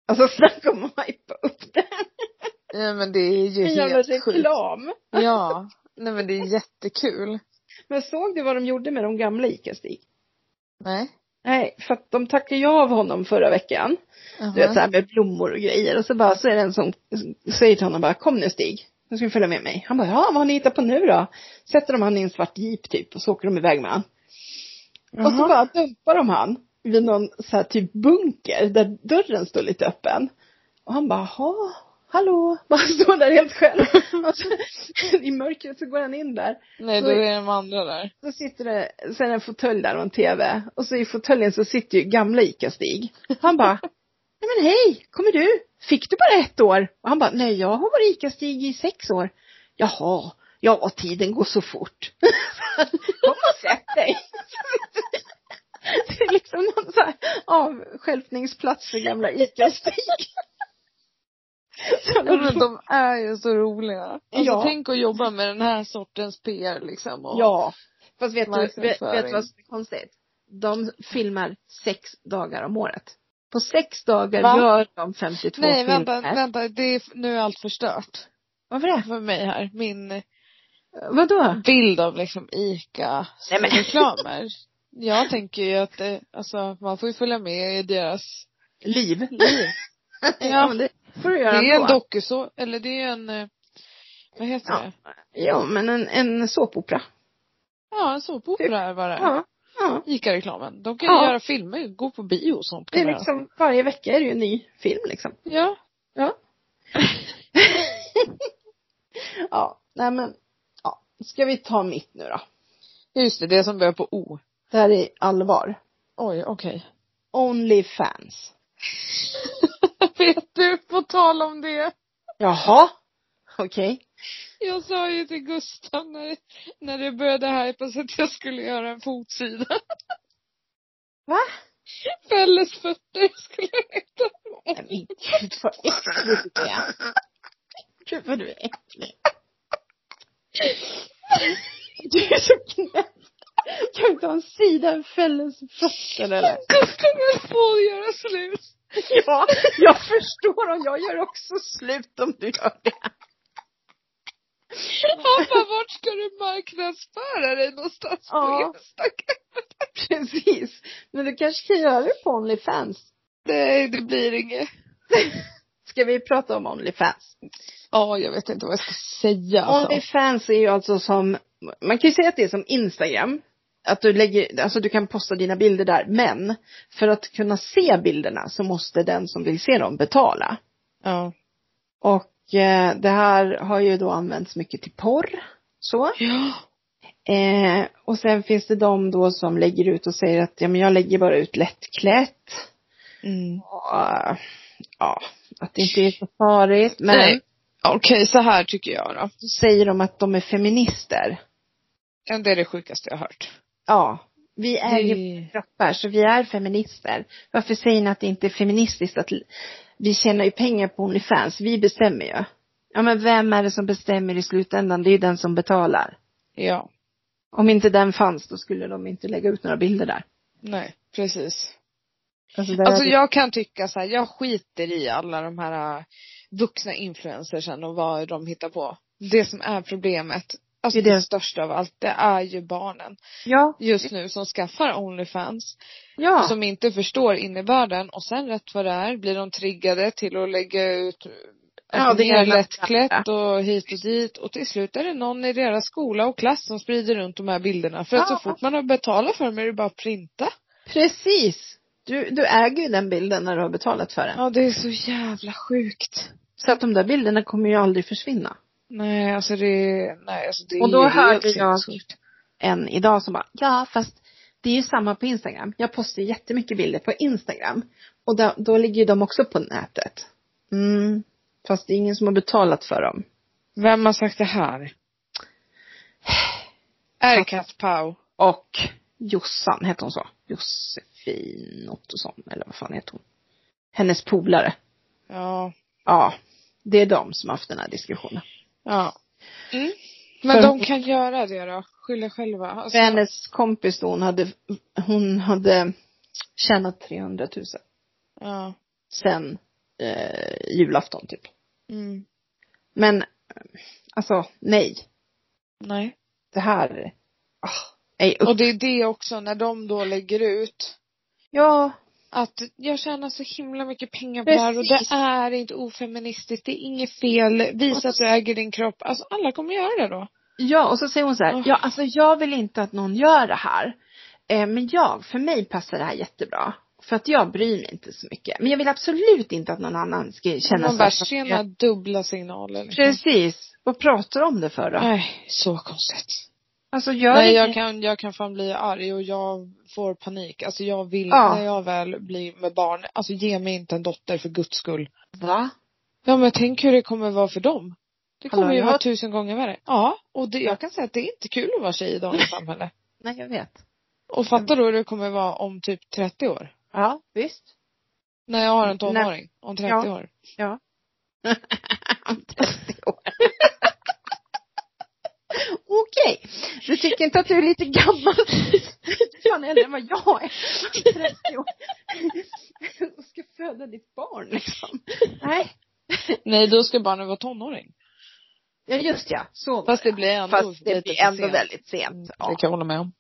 B: Alltså snacka om att hypa upp det här.
A: Ja men det är ju
B: En jävla
A: helt sjukt.
B: reklam.
A: Ja. Nej men det är jättekul.
B: Men såg du vad de gjorde med de gamla ICA-Stig?
A: Nej.
B: Nej, för att de tackade ju av honom förra veckan. Du vet så här med blommor och grejer. Och så bara så är det en som säger till honom bara, kom nu Stig. Nu ska du följa med mig. Han bara, ja vad har ni hittat på nu då? Sätter de han i en svart jeep typ och så åker de iväg med han. Och så bara dumpar de han vid någon så här typ bunker där dörren står lite öppen. Och han bara, jaha, hallå. Bara står där helt själv. Och så, I mörkret så går han in där.
A: Nej då
B: så-
A: är det de andra där.
B: Så sitter det, sen en fåtölj där och en tv. Och så i fåtöljen så sitter ju gamla ICA-Stig. Han bara, nej men hej, kommer du? Fick du bara ett år? Och han bara, nej jag har varit ICA-Stig i sex år. Jaha, ja tiden går så fort. Kom och sätt dig. Det är liksom någon så här avstjälpningsplats för gamla ICA-Stig. Så
A: Ja,
B: de-
A: men de är ju så roliga. Alltså,
B: Ja.
A: Tänk att jobba med den här sortens PR liksom. Och...
B: Ja. Fast vet du, vet, vet
A: Marknadsföring.
B: du vad som är konstigt? De filmar sex dagar om året. På sex dagar
A: Va?
B: gör de 52
A: Nej
B: filmer.
A: vänta, vänta. Det är, nu är allt förstört.
B: Varför det?
A: För mig här. Min
B: Vadå?
A: bild av liksom ICA
B: Nej, men-
A: reklamer. Jag tänker ju att det, alltså man får ju följa med i deras
B: Liv.
A: liv.
B: Ja, men det får du
A: Det
B: göra
A: är en
B: ändå.
A: dokuså, eller det är en, eh, vad heter
B: Ja.
A: det?
B: Jo, men en, en såpopera.
A: Ja, en såpopera är vad det är.
B: Typ. Ja. ja.
A: ICA-reklamen. De kan ju
B: Ja.
A: göra filmer, gå på bio och sånt.
B: Det
A: kan
B: är
A: de göra.
B: liksom, varje vecka är det ju en ny film liksom.
A: Ja.
B: Ja. ja, nej men. Ja. Ska vi ta mitt nu då?
A: Just det, det som börjar på O.
B: Det här är allvar.
A: Oj, okej.
B: Onlyfans.
A: Vet du, på tal om det.
B: Jaha. Okej.
A: Jag sa ju till Gustav när, när det började hypas att jag skulle göra en fotsida.
B: Va?
A: Fälles fötter skulle jag heta.
B: Nej men gud vad äckligt du är. Gud vad du är äcklig. Du är så knäpp. Kan du inte ha en sida med fällens fötter eller?
A: Jag skulle få göra slut.
B: Ja, jag förstår om jag gör också slut om du gör det.
A: Han bara, vart ska du marknadsföra dig någonstans
B: Ja.
A: på Instagram?
B: Precis. Men du kanske kan göra det på Onlyfans.
A: Nej, det blir inget.
B: Ska vi prata om Onlyfans?
A: Ja, jag vet inte vad jag ska säga. Alltså.
B: Onlyfans är ju alltså som, man kan ju säga att det är som Instagram. Att du lägger, alltså du kan posta dina bilder där. Men för att kunna se bilderna så måste den som vill se dem betala.
A: Ja.
B: Och eh, det här har ju då använts mycket till porr. Så.
A: Ja.
B: Eh, och sen finns det de då som lägger ut och säger att ja men jag lägger bara ut lättklätt.
A: Mm.
B: Och, eh, ja, att det inte är så farligt. Men
A: Nej. Okej, så här tycker jag då.
B: så säger de att de är feminister.
A: Ja, Det är det sjukaste jag har hört.
B: Ja, vi äger
A: Det-
B: kroppar så vi är feminister. Varför säger ni att det inte är feministiskt att l- vi tjänar ju pengar på Onlyfans, vi bestämmer ju. Ja men vem är det som bestämmer i slutändan? Det är ju den som betalar.
A: Ja.
B: Om inte den fanns då skulle de inte lägga ut några bilder där.
A: Nej, precis.
B: Alltså, där
A: Alltså
B: är det-
A: jag kan tycka så här, jag skiter i alla de här äh, vuxna influencersen och vad de hittar på. Det som är problemet, alltså
B: Det är
A: det,
B: det.
A: största av allt, det är ju barnen
B: Ja,
A: just nu som skaffar Onlyfans.
B: ja.
A: Som inte förstår innebörden och sen rätt vad det är blir de triggade till att lägga ut äh,
B: Ja,
A: att
B: det
A: det
B: ena
A: är
B: med det
A: lättklätt och hit och dit och till slut är det någon i deras skola och klass som sprider runt de här bilderna för att
B: Ja.
A: så fort man har betalat för dem är det bara att printa.
B: Precis. Du, du äger ju den bilden när du har betalat för den.
A: Ja det är så jävla sjukt.
B: Så att de där bilderna kommer ju aldrig försvinna.
A: Nej, alltså det, nej alltså det
B: Och då
A: är ju
B: hörde
A: helt
B: jag-
A: sinnessjukt.
B: Än idag som bara, ja fast det är ju samma på Instagram. Jag postar ju jättemycket bilder på Instagram. Och då, då ligger ju de också på nätet. Mm. Fast det är ingen som har betalat för dem.
A: Vem har sagt det här? Är det Kat Pau?
B: Och Jossan, hette hon så? Josefin Ottosson, eller vad fan heter hon? Hennes polare.
A: Ja.
B: Ja. Det är de som har haft den här diskussionen.
A: Ja. Mm. Men
B: För-
A: de kan göra det då? Skylla själva? Alltså,
B: För hennes kompis då, hon hade, hon hade tjänat 300 000
A: ja.
B: sen eh, julafton typ.
A: Mm.
B: Men eh, alltså nej,
A: Nej.
B: det här, ah, nej upp.
A: Och det är det också, när de då lägger ut
B: Ja,
A: att jag tjänar så himla mycket pengar på det här och det
B: Precis.
A: är inte ofeministiskt, det är inget fel, visa att du äger din kropp. Alltså alla kommer göra det då.
B: ja och så säger hon så här,
A: Uff.
B: ja alltså jag vill inte att någon gör det här. Eh, men jag, för mig passar det här jättebra. För att jag bryr mig inte så mycket. Men jag vill absolut inte att någon annan ska känna
A: Man bara,
B: så. att-
A: tjena dubbla signaler liksom.
B: Precis. Vad pratar du om det för då?
A: Nej, så konstigt.
B: Alltså gör
A: Nej
B: det-
A: jag kan, jag kan fan bli arg och jag får panik. Alltså jag vill,
B: Ja.
A: när jag väl blir med barn, alltså ge mig inte en dotter för guds skull.
B: Va?
A: Ja men tänk hur det kommer vara för dem. Det kommer
B: Hallå,
A: ju
B: jag-
A: vara tusen gånger värre. Ja, och det, jag kan säga att det är inte kul att vara tjej i dagens samhälle.
B: Nej jag vet.
A: Och fatta då hur det kommer vara om typ 30 år.
B: Ja, visst.
A: När jag har en tonåring. Om 30
B: Ja.
A: år.
B: Om 30 år. Okej. Du tycker inte att du är lite gammal? Fan, äldre än vad jag är. 30 år. Och ska föda ditt barn liksom. Nej.
A: Nej då ska barnen vara tonåring.
B: Ja just ja, så var
A: Fast det blir ändå
B: Fast det
A: lite
B: blir
A: för
B: ändå
A: sent.
B: väldigt
A: Mm,
B: sent.
A: Det
B: Ja,
A: kan jag hålla med om.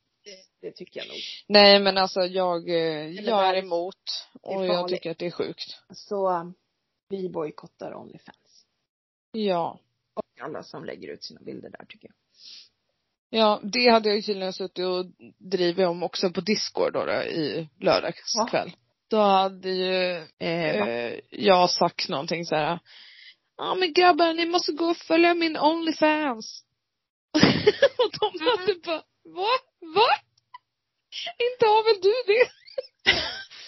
B: det tycker jag nog.
A: Nej men alltså jag, eh, jag är
B: varför?
A: emot.
B: Det är
A: Och jag
B: farligt.
A: tycker att det är sjukt.
B: Så um, vi bojkottar Onlyfans.
A: Ja.
B: Och alla som lägger ut sina bilder där tycker jag.
A: Ja, det hade jag ju tydligen suttit och drivit om också på Discord då, då i lördags
B: Ja.
A: kväll. Då hade ju
B: Eh, va?
A: eh, jag sagt någonting så här. Ja men grabbar ni måste gå och följa min Onlyfans. och de
B: Mm-hmm.
A: hade bara, va? Va? Inte har väl du det?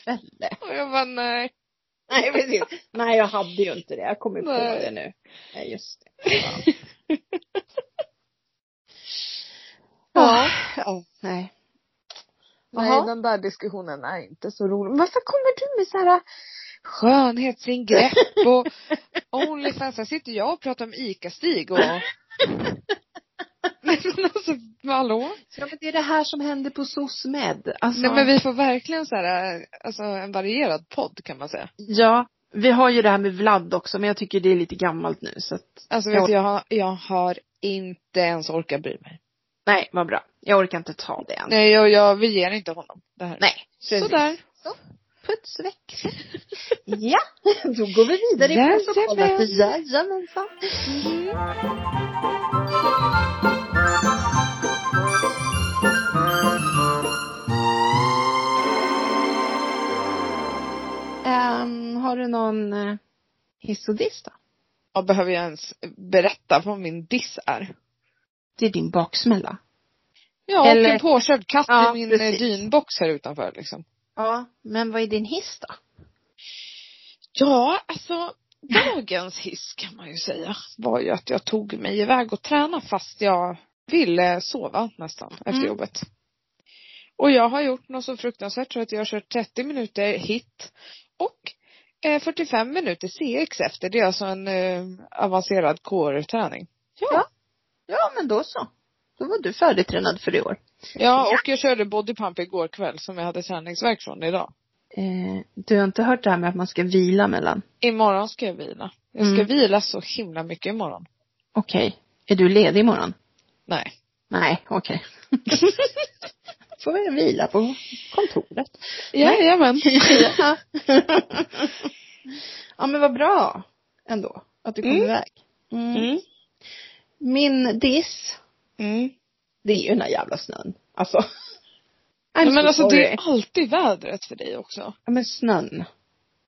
B: Fälle.
A: Och jag bara nej.
B: Nej precis. Nej jag hade ju inte det. Jag kommer på
A: Nej.
B: det nu. Nej just det. Ja. ja. Nej.
A: Nej
B: Jaha.
A: den där diskussionen är inte så rolig. Varför kommer du med så här äh, skönhetsingrepp och Onlyfans? Här sitter jag och pratar om ICA-Stig och Nej men alltså, hallå?
B: Ja men det är det här som händer på SOSMED. Alltså,
A: Nej men vi får verkligen så här, alltså en varierad podd kan man säga.
B: Ja. Vi har ju det här med Vlad också men jag tycker det är lite gammalt nu så att.
A: Alltså
B: Ja.
A: vet du, jag, har- jag har inte ens orkat bry mig.
B: Nej vad bra. Jag orkar inte ta det än.
A: Nej jag, jag, vi ger inte honom det här.
B: Nej. precis.
A: Sådär.
D: putsväxt.
B: Ja, då går vi vidare i protokollet.
D: Jajamensan.
B: Mm. Ehm, har du någon eh, hiss och diss då?
A: Ja, behöver jag ens berätta vad min diss är?
B: Det är din baksmälla.
A: Ja,
B: Eller-
A: och en påkörd katt
B: Ja,
A: i min
B: precis.
A: precis. dynbox här utanför liksom.
B: Ja, men vad är din hiss då?
A: Ja, alltså dagens hiss kan man ju säga var ju att jag tog mig iväg och träna fast jag ville sova nästan efter
B: Mm.
A: jobbet. Och jag har gjort något så fruktansvärt så att jag har kört 30 minuter hit och eh, 45 minuter CX efter. Det är alltså en eh, avancerad core-träning.
B: Ja, men då så. Då var du färdigtränad för i år.
A: Ja, och jag körde bodypump igår kväll som jag hade träningsvärk från idag.
B: Eh, du har inte hört det här med att man ska vila mellan?
A: Imorgon ska jag vila. Jag ska
B: Mm.
A: vila så himla mycket imorgon.
B: Okej. Är du ledig imorgon?
A: Nej.
B: Nej, okej. Får vi vila på kontoret.
A: Jajamän.
B: Ja. ja, men vad bra ändå att du kom
A: Mm.
B: iväg. Mm.
A: Mm.
B: Min diss,
A: Mm.
B: det är ju den där jävla snön. Alltså. I'm
A: Nej, men
B: so
A: alltså det
B: sorry.
A: är alltid vädret för dig också.
B: Ja, men snön.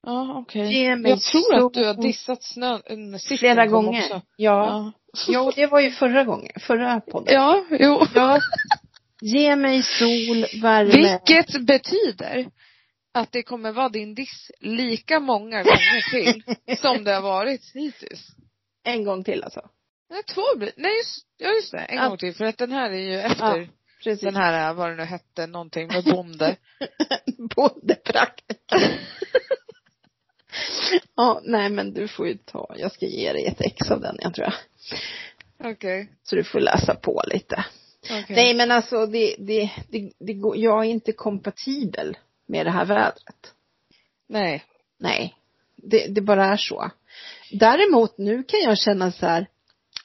A: Ja, okej.
B: Ge mig
A: Jag tror
B: så-
A: att du har dissat snön en sist
B: Flera
A: gång
B: gånger.
A: Också.
B: Ja.
A: Ja.
B: ja, och det var ju förra gången, förra podden.
A: ja, jo.
B: Ja. Ge mig sol, värme.
A: Vilket betyder att det kommer vara din diss lika många gånger till som det har varit hittills.
B: En gång till alltså.
A: Nej, två blir Nej, just, ja, just det. En
B: Ja.
A: gång till. För att den här är ju efter
B: Ja, Precis.
A: den här, vad det nu hette, någonting med bonde.
B: Bondepraktiker. ja, nej men du får ju ta, jag ska ge dig ett ex av den jag tror jag.
A: Okej.
B: Så du får läsa på lite.
A: Okej.
B: Nej men alltså det, det, det, det går, jag är inte kompatibel med det här vädret.
A: Nej.
B: Nej, det, det bara är så. Däremot nu kan jag känna så här,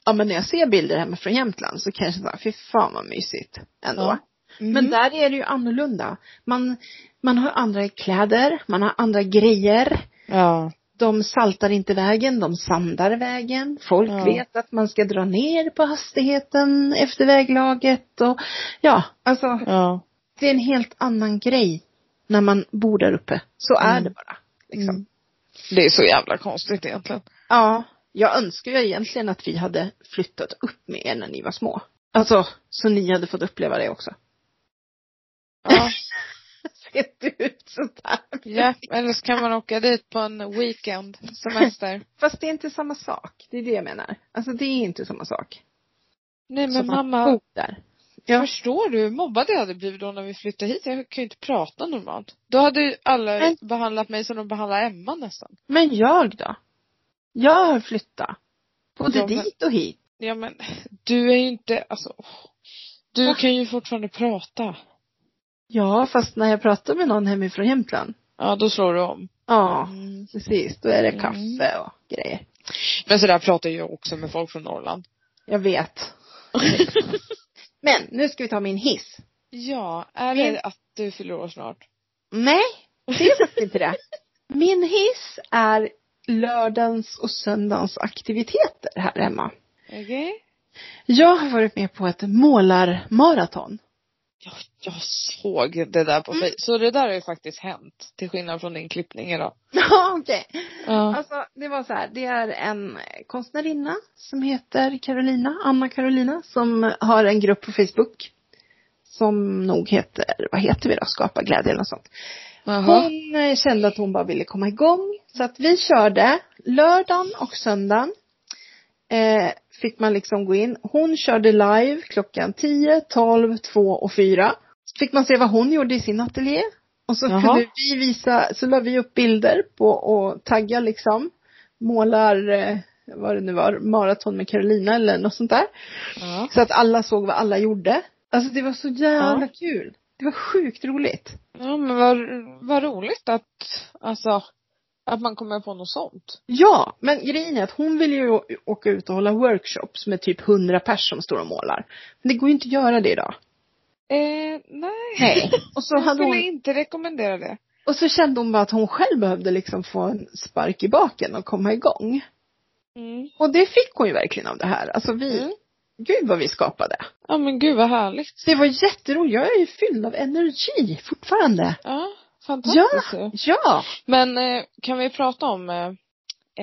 B: ja men när jag ser bilder hemifrån Jämtland så kan jag känna, fy fan vad mysigt ändå.
A: Ja. Mhm.
B: Men där är det ju annorlunda. Man, man har andra kläder, man har andra grejer.
A: Ja.
B: De saltar inte vägen, de sandar vägen. Folk
A: Ja.
B: vet att man ska dra ner på hastigheten efter väglaget och ja, alltså
A: Ja.
B: det är en helt annan grej när man bor där uppe. Så är
A: Mm.
B: det bara. Liksom.
A: Mm. Det är så jävla konstigt egentligen.
B: Ja, jag önskar ju egentligen att vi hade flyttat upp med er när ni var små. Alltså, så ni hade fått uppleva det också.
A: Ja.
B: Ser du ut sådär?
A: Ja, eller så kan man åka dit på en weekend, semester.
B: Fast det är inte samma sak. Det är det jag menar. Alltså det är inte samma sak.
A: Nej men
B: Som att
A: mamma,
B: bo där. Ja.
A: förstår du hur mobbad jag hade blivit då när vi flyttade hit? Jag kan ju inte prata normalt. Då hade ju alla
B: Nej.
A: behandlat mig som de behandlar Emma nästan.
B: Men jag då? Jag har flyttat. Både
A: Ja, men-
B: dit och hit.
A: Ja men, du är ju inte, alltså. åh. Du kan ju fortfarande prata.
B: Ja, fast när jag pratar med någon hemifrån Jämtland.
A: Ja, då slår du om.
B: Ja,
A: Mm.
B: precis. Då är det
A: Mm.
B: kaffe och grejer.
A: Men sådär pratar jag också med folk från Norrland.
B: Jag vet. Men nu ska vi ta min hiss.
A: ja, är det
B: Min-
A: att du fyller år snart?
B: Nej, det är faktiskt inte det. Min hiss är lördagens och söndagens aktiviteter här hemma.
A: Okej?
B: Jag har varit med på ett målarmaraton.
A: Ja, jag såg det där på Facebook. Så det där har ju faktiskt hänt. Till skillnad från din klippning idag.
B: Ja, okej.
A: Ja.
B: Alltså det var så här, det är en konstnärinna som heter Carolina, Anna Carolina, som har en grupp på Facebook. Som nog heter, vad heter vi då, Skapa glädje eller något sånt.
A: Jaha.
B: Hon eh, kände att hon bara ville komma igång. Så att vi körde lördagen och söndagen. Eh, fick man liksom gå in. Hon körde live klockan 10, 12, 2 och 4. Fick man se vad hon gjorde i sin ateljé. Och så
A: Jaha.
B: kunde vi visa, så la vi upp bilder på och tagga liksom. Målar, eh, vad det nu var, maraton med Carolina eller något sånt där.
A: Ja.
B: Så att alla såg vad alla gjorde. Alltså det var så jävla
A: Ja.
B: kul. Det var sjukt roligt.
A: ja, men vad, vad roligt att, alltså, att man kommer på något sånt.
B: Ja, men grejen är att hon vill ju å- åka ut och hålla workshops med typ 100 pers som står och målar. Men det går ju inte att göra det idag.
A: Eh, nej.
B: Nej. Och så
A: Jag
B: hade
A: skulle
B: hon,
A: inte rekommendera det.
B: Och så kände hon bara att hon själv behövde liksom få en spark i baken och komma igång.
A: Mm.
B: Och det fick hon ju verkligen av det här. Alltså vi,
A: Mm.
B: gud vad vi skapade.
A: Ja men gud vad härligt.
B: Så det var jätteroligt. Jag är ju fylld av energi fortfarande.
A: Ja, fantastiskt ju.
B: Ja.
A: Men eh, kan vi prata om eh,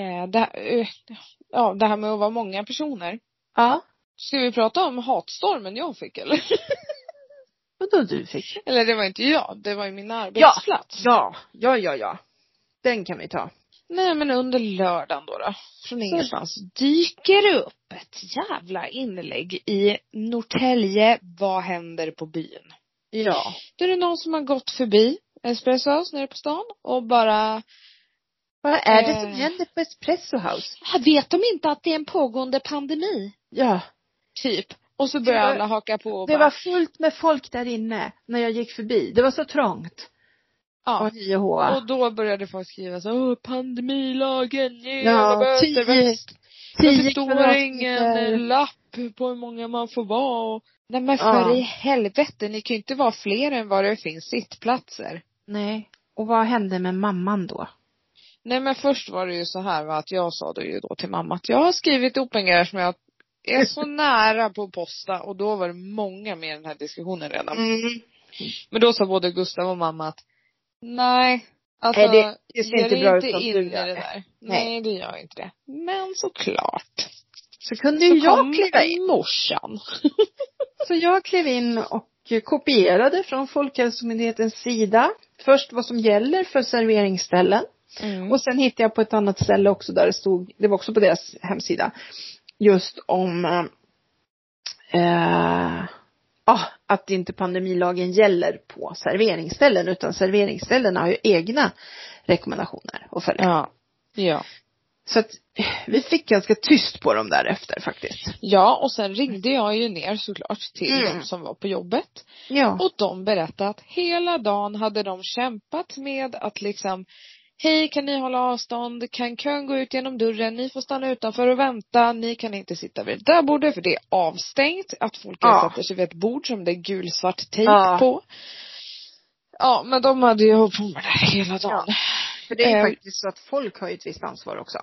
A: eh, det, här- eh, ja, det här med att vara många personer?
B: Ja.
A: Ska vi prata om hatstormen jag fick eller?
B: Vadå du fick?
A: Eller det var inte jag, det var ju min arbetsplats.
B: Ja, ja, ja, ja. Den kan vi ta.
A: Nej men under lördagen då, då från ingenstans dyker upp ett jävla inlägg i Norrtälje, vad händer på byn?
B: Ja.
A: Då är det någon som har gått förbi Espresso House nere på stan och bara,
B: Vad är det som
A: Eh.
B: händer på Espresso House?
A: "Ah, vet de inte att det är en pågående pandemi?
B: Ja.
A: Typ. Och så börjar
B: Det var-
A: alla haka på och
B: Det
A: bara,
B: var fullt med folk där inne när jag gick förbi. Det var så trångt.
A: ja.
B: Och IH.
A: Och då började folk skriva så, åh pandemilagen, ge
B: Ja,
A: alla böter.
B: tio-
A: Varför
B: tio
A: står ingen
B: kvadratmeter.
A: lapp på hur många man får vara? Och... Nej men
B: Ja.
A: för i helvete, ni kan ju inte vara fler än vad det finns sittplatser.
B: Nej. Och vad hände med mamman då?
A: Nej men först var det ju så här va, att jag sa det ju då till mamma att jag har skrivit ihop en grej som jag är så nära på att posta och då var det många med i den här diskussionen redan. Men då sa både Gustav och mamma att nej, alltså
B: Nej, det- det ser
A: ge
B: inte
A: dig
B: bra ut
A: inte
B: att
A: in
B: du
A: i
B: gör
A: det
B: det.
A: där.
B: Nej.
A: Nej. det gör inte det. Men såklart.
B: Så kunde ju jag
A: kom
B: kliva in.
A: morsan.
B: Så jag klev in och kopierade från Folkhälsomyndighetens sida. Först vad som gäller för serveringsställen.
A: Mm.
B: Och sen hittade jag på ett annat ställe också där det stod, det var också på deras hemsida, just om eh, ja, att inte pandemilagen gäller på serveringsställen utan serveringsställena har ju egna rekommendationer att följa.
A: Ja. Ja.
B: Så att eh, vi fick ganska tyst på dem därefter faktiskt.
A: Ja och sen ringde jag ju ner såklart till
B: Mm.
A: de som var på jobbet.
B: Ja.
A: Och de berättade att hela dagen hade de kämpat med att liksom Hej, kan ni hålla avstånd? Kan kön gå ut genom dörren? Ni får stanna utanför och vänta. Ni kan inte sitta vid det där bordet för det är avstängt. Att folk
B: Ja.
A: sätter sig vid ett bord som det är gulsvart tejp
B: Ja.
A: på. Ja, men de hade ju hållit på med det här hela dagen. Ja.
B: För det är ju
A: Eh,
B: faktiskt så att folk har ju ett visst ansvar också.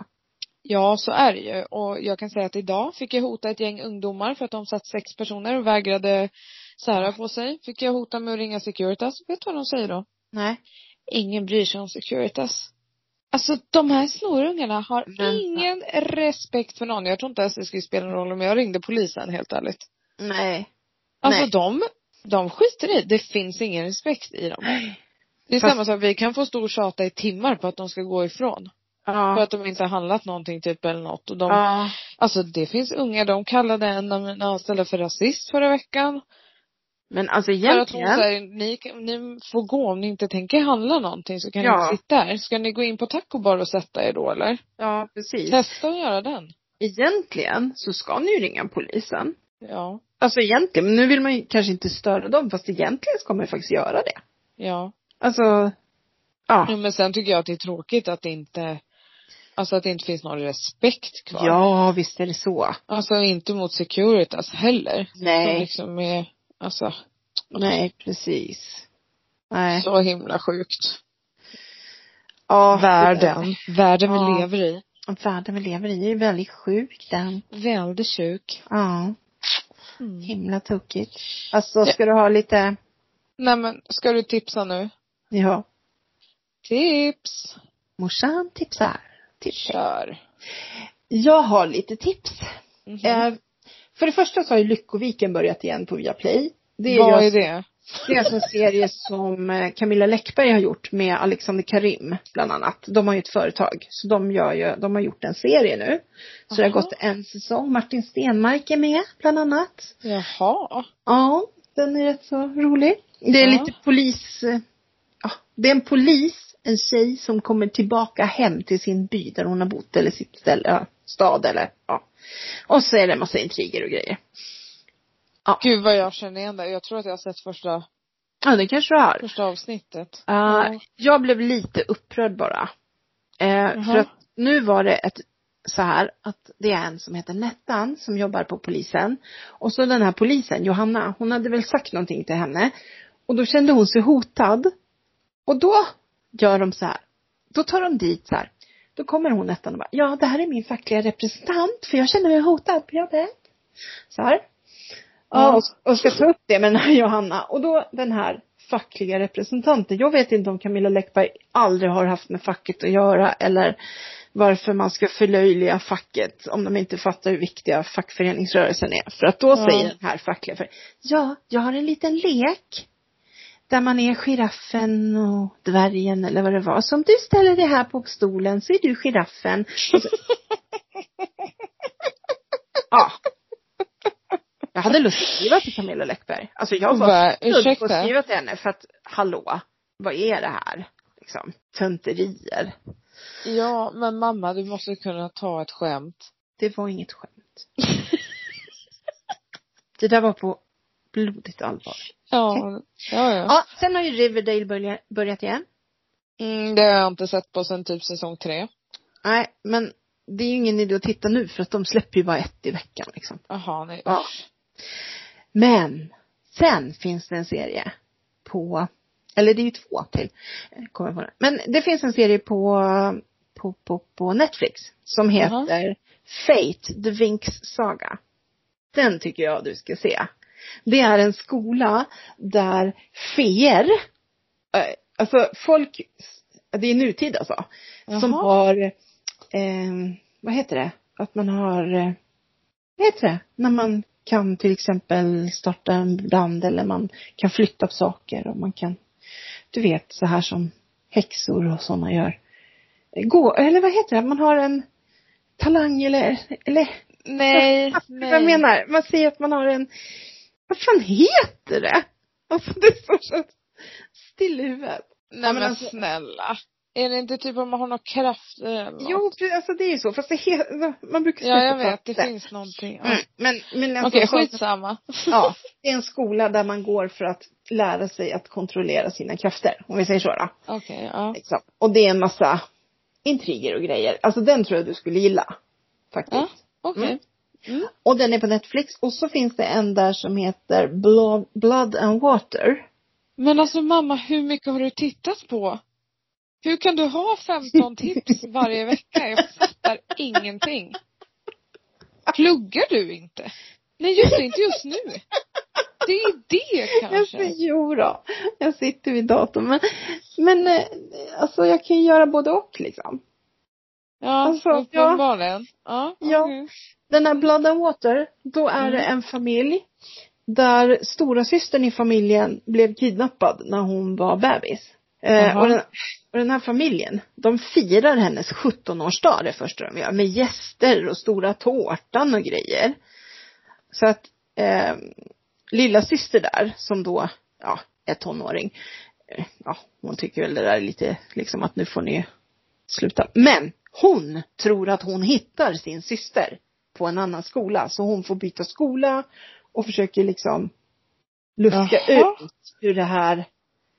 A: så är det ju. Och jag kan säga att idag fick jag hota ett gäng ungdomar för att de satt sex personer och vägrade sära på sig. Fick jag hota med att ringa Securitas. Vet du vad de säger då?
B: Nej.
A: Ingen bryr sig om Securitas. Alltså de här snorungarna har
B: Men-
A: ingen respekt för någon. Jag tror inte ens det skulle spela någon roll om jag ringde polisen helt ärligt.
B: Nej.
A: Alltså
B: Nej.
A: de, de skiter i. Det finns ingen respekt i dem. Det är
B: Fast-
A: samma sak, vi kan få stor tjata i timmar på att de ska gå ifrån. För
B: Ja.
A: att de inte har handlat någonting typ eller något. Och de,
B: Ja.
A: Alltså det finns unga, de kallade en av mina anställda för rasist förra veckan.
B: Men alltså
A: För att hon
B: egentligen.
A: säger, ni, kan- ni får gå om ni inte tänker handla någonting så kan
B: Ja.
A: ni inte sitta här. Ska ni gå in på taco bar och sätta er då eller?
B: Ja, precis.
A: Testa att göra den.
B: egentligen så ska ni ju ringa polisen.
A: Ja.
B: Alltså egentligen, men nu vill man ju kanske inte störa dem fast egentligen ska man ju faktiskt göra det.
A: Ja.
B: Alltså,
A: Jo,
B: ja.
A: men sen tycker jag att det är tråkigt att det inte, alltså att det inte finns någon respekt kvar.
B: Ja, visst är det så.
A: Alltså inte mot Securitas heller. Som
B: Nej,
A: liksom är, alltså,
B: nej precis. Nej.
A: så himla sjukt.
B: Ja,
A: Världen, världen vi
B: Ja.
A: lever i.
B: Världen vi lever i är ju väldigt sjuk den.
A: Väldigt sjuk.
B: Ja,
A: Mm.
B: himla tokigt. Alltså ska du ha lite,
A: Nej men, ska du tipsa nu?
B: ja,
A: Tips!
B: morsan tipsar. Tips.
A: Kör.
B: Jag har lite tips.
A: Mhm.
B: Eh, för det första så har ju Lyckoviken börjat igen på Viaplay. Det är
A: Vad
B: ju
A: är det?
B: Det är alltså en serie som eh, Camilla Läckberg har gjort med Alexander Karim bland annat. De har ju ett företag så de, gör ju, de har gjort en serie nu. Så det har
A: Aha.
B: gått en säsong. Martin Stenmark är med bland annat.
A: Jaha.
B: Ja, den är rätt så rolig. Det är
A: Ja.
B: lite polis, eh, ja, det är en polis, en tjej som kommer tillbaka hem till sin by där hon har bott eller sitt ställe, ja, stad eller ja. Och så är det en massa intriger och grejer.
A: Gud vad jag känner igen det. Jag tror att jag har sett första,
B: Ja, det kanske du har.
A: första avsnittet.
B: Ja,
A: Ja.
B: jag blev lite upprörd bara. Eh, för
A: Jaha.
B: att nu var det ett så här att det är en som heter Nettan som jobbar på polisen. Och så den här polisen, Johanna, hon hade väl sagt någonting till henne. Och då kände hon sig hotad. Och då gör de så här. Då tar de dit så här. Då kommer hon ettan och bara, ja det här är min fackliga representant för jag känner mig hotad på jobbet. Så här. Ja, och, och ska ta upp det med den här Johanna. Och då den här fackliga representanten. Jag vet inte om Camilla Läckberg aldrig har haft med facket att göra eller varför man ska förlöjliga facket om de inte fattar hur viktiga fackföreningsrörelsen är. För att då säger den här fackliga för, ja, jag har en liten lek där man är giraffen och dvärgen eller vad det var. Så om du ställer dig här på stolen så är du giraffen. Och så- ja. Jag hade lust att skriva till Camilla Läckberg. Alltså jag var
A: Bara,
B: snudd på att
A: ursäkta?
B: skriva till henne för att, hallå, vad är det här? Liksom, tönterier.
A: Ja, men mamma du måste kunna ta ett skämt.
B: Det var inget skämt. det där var på blodigt allvar.
A: Ja, ja, ja.
B: Ja, sen har ju Riverdale börja- börjat igen.
A: Mm, det har jag inte sett på sen typ säsong tre.
B: Nej, men det är ju ingen idé att titta nu för att de släpper ju bara ett i veckan liksom.
A: Jaha, nej.
B: Ja. Men sen finns det en serie på, eller det är ju två till, eh, kommer jag på nu. Men det finns en serie på, på, på, på Netflix som heter Fate, The Winx Saga. Den tycker jag du ska se. Det är en skola där feer, eh, alltså folk, det är nutid alltså, som
A: Jaha.
B: har, eh, vad heter det, att man har eh, vad heter det? När man kan till exempel starta en brand eller man kan flytta på saker och man kan, du vet så här som häxor och sådana gör. Gå, eller vad heter det? Man har en talang eller, eller
A: Nej,
B: vad jag menar? Man säger att man har en, vad fan heter det? Alltså det står så still i huvudet.
A: Nej men,
B: men alltså-
A: snälla. Är det inte typ om man har någon kraft eller något?
B: Jo, precis, alltså det är ju så, fast det he- alltså, man brukar
A: Ja, jag
B: söka på
A: vet. Det
B: det.
A: finns någonting. Ja.
B: Mm, men, men alltså,
A: Okej,
B: så-
A: skitsamma.
B: Ja, det är en skola där man går för att lära sig att kontrollera sina krafter, om vi säger så då.
A: Okej, ja.
B: Liksom. Och det är en massa intriger och grejer. Alltså den tror jag du skulle gilla. Faktiskt.
A: Ja, Okej.
B: Mm. Och den är på Netflix. Och så finns det en där som heter Blo- Blood and Water.
A: Men alltså mamma, hur mycket har du tittat på? Hur kan du ha 15 tips varje vecka? Jag fattar ingenting. Pluggar du inte? Nej just det, inte just nu. Det är det
B: Jag
A: kanske.
B: säger, jo då. Jag sitter vid datorn. Men, men eh, alltså jag kan ju göra både och liksom.
A: Ja,
B: Alltså, ja.
A: uppenbarligen. Ja.
B: Ja.
A: okej.
B: Den här Blood and Water, då är
A: Mm.
B: det en familj där stora systern i familjen blev kidnappad när hon var bebis. Eh,
A: Jaha.
B: och, den, och den här familjen, de firar hennes 17-årsdag det första de gör med gäster och stora tårtan och grejer. Så att eh, lilla syster där som då, ja, är tonåring, eh, ja, hon tycker väl det där är lite liksom att nu får ni sluta. Men hon tror att hon hittar sin syster på en annan skola. Så hon får byta skola och försöker liksom luska
A: Jaha.
B: ut hur det här,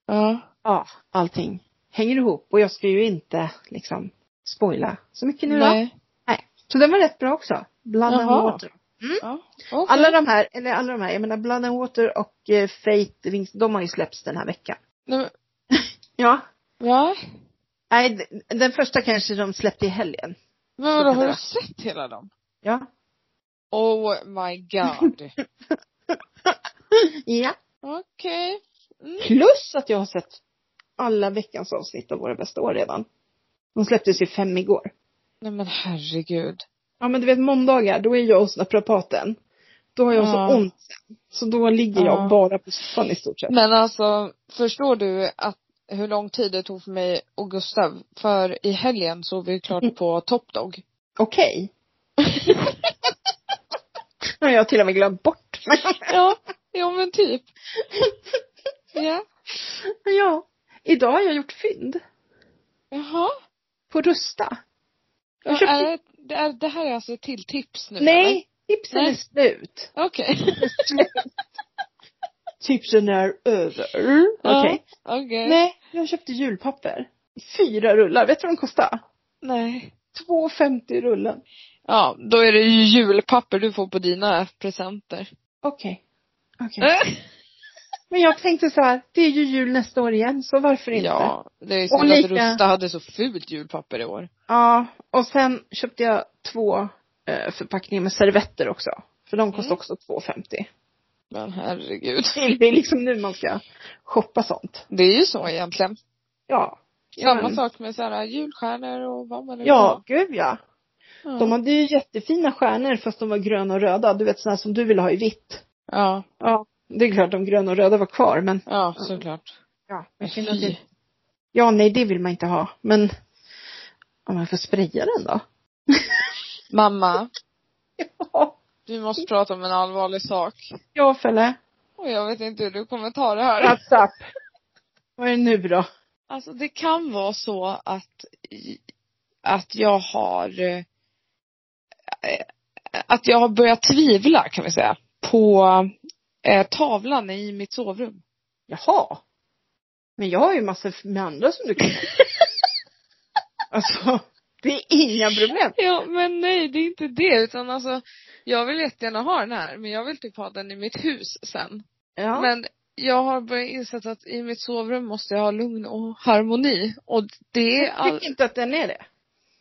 A: Ja.
B: ja, allting hänger ihop. Och jag ska ju inte liksom spoila så mycket nu då.
A: Nej.
B: Nej. Så den var rätt bra också. Blood and
A: Jaha.
B: Water.
A: Ja. okej.
B: Alla de här, eller alla de här, jag menar Blood and Water och eh, Fate Wings, de har ju släppts den här veckan.
A: Nej, men-
B: Ja.
A: Ja.
B: Nej, d- den första kanske de släppte i helgen.
A: Men vadå, har
B: Sådär.
A: du sett hela dem?
B: Ja.
A: Oh my god.
B: Ja.
A: Okej. Mm.
B: Plus att jag har sett alla veckans avsnitt av Våra bästa år redan. De släpptes ju fem igår.
A: Nej men herregud.
B: Ja men du vet måndagar, då är jag hos naprapaten. Då har jag
A: Ja.
B: så ont. Så då ligger jag
A: Ja.
B: bara på soffan i stort sett.
A: Men alltså, förstår du att hur lång tid det tog för mig och Gustav? För i helgen såg vi klart på Top Dog.
B: Okej. Ja, jag har till och med glömt bort.
A: Ja, ja men typ. Ja.
B: ja. Idag har jag gjort fynd.
A: Jaha.
B: På Rusta. Jag
A: Ja,
B: köpte-
A: är, det- det, är, det här är alltså ett till tips nu
B: Nej, tipsen
A: Nej.
B: är slut.
A: eller? Okej.
B: Tipsen är över. Okej.
A: Ja, Okej.
B: Nej, jag köpte julpapper. Fyra rullar. Vet du vad de kostar?
A: Nej.
B: 2,50 rullen.
A: Ja, då är det ju julpapper du får på dina presenter.
B: Okej. Okej.
A: Äh.
B: Men jag tänkte så här, det är ju jul nästa år igen, så varför inte?
A: Ja, det är
B: Och
A: synd att
B: lika-
A: Rusta hade så fult julpapper i år.
B: Ja, och sen köpte jag två eh, förpackningar med servetter också. För de kostar
A: Mm.
B: också 2,50.
A: Men herregud.
B: Det är liksom nu man ska shoppa sånt.
A: Det är ju så egentligen.
B: Ja.
A: Samma
B: men-
A: sak med så här julstjärnor och vad man nu
B: Mm. Ja, gud ja.
A: Ja.
B: De hade ju jättefina stjärnor fast de var gröna och röda. Du vet sådana som du ville ha i vitt.
A: ja.
B: Ja. Det är klart de gröna och röda var kvar men.
A: Ja, såklart.
B: Ja,
A: Men
B: jag känner
A: fy.
B: att det... ja nej det vill man inte ha. Men om man får spraya den då.
A: Mamma,
B: Ja.
A: vi
B: Mm.
A: måste prata om en allvarlig sak.
B: Ja Felle.
A: Och jag vet inte hur du kommer ta det här.
B: What's up? Vad är det nu då?
A: Alltså det kan vara så att, att jag har eh, att jag har börjat tvivla kan vi säga på eh, tavlan i mitt sovrum.
B: Jaha. Men jag har ju massor med andra som du kan Alltså, det är inga problem.
A: Ja men nej det är inte det utan alltså jag vill jättegärna ha den här men jag vill typ ha den i mitt hus sen.
B: Ja.
A: Men jag har börjat insett att i mitt sovrum måste jag ha lugn och harmoni och det är
B: jag
A: all,
B: tycker inte att den är det.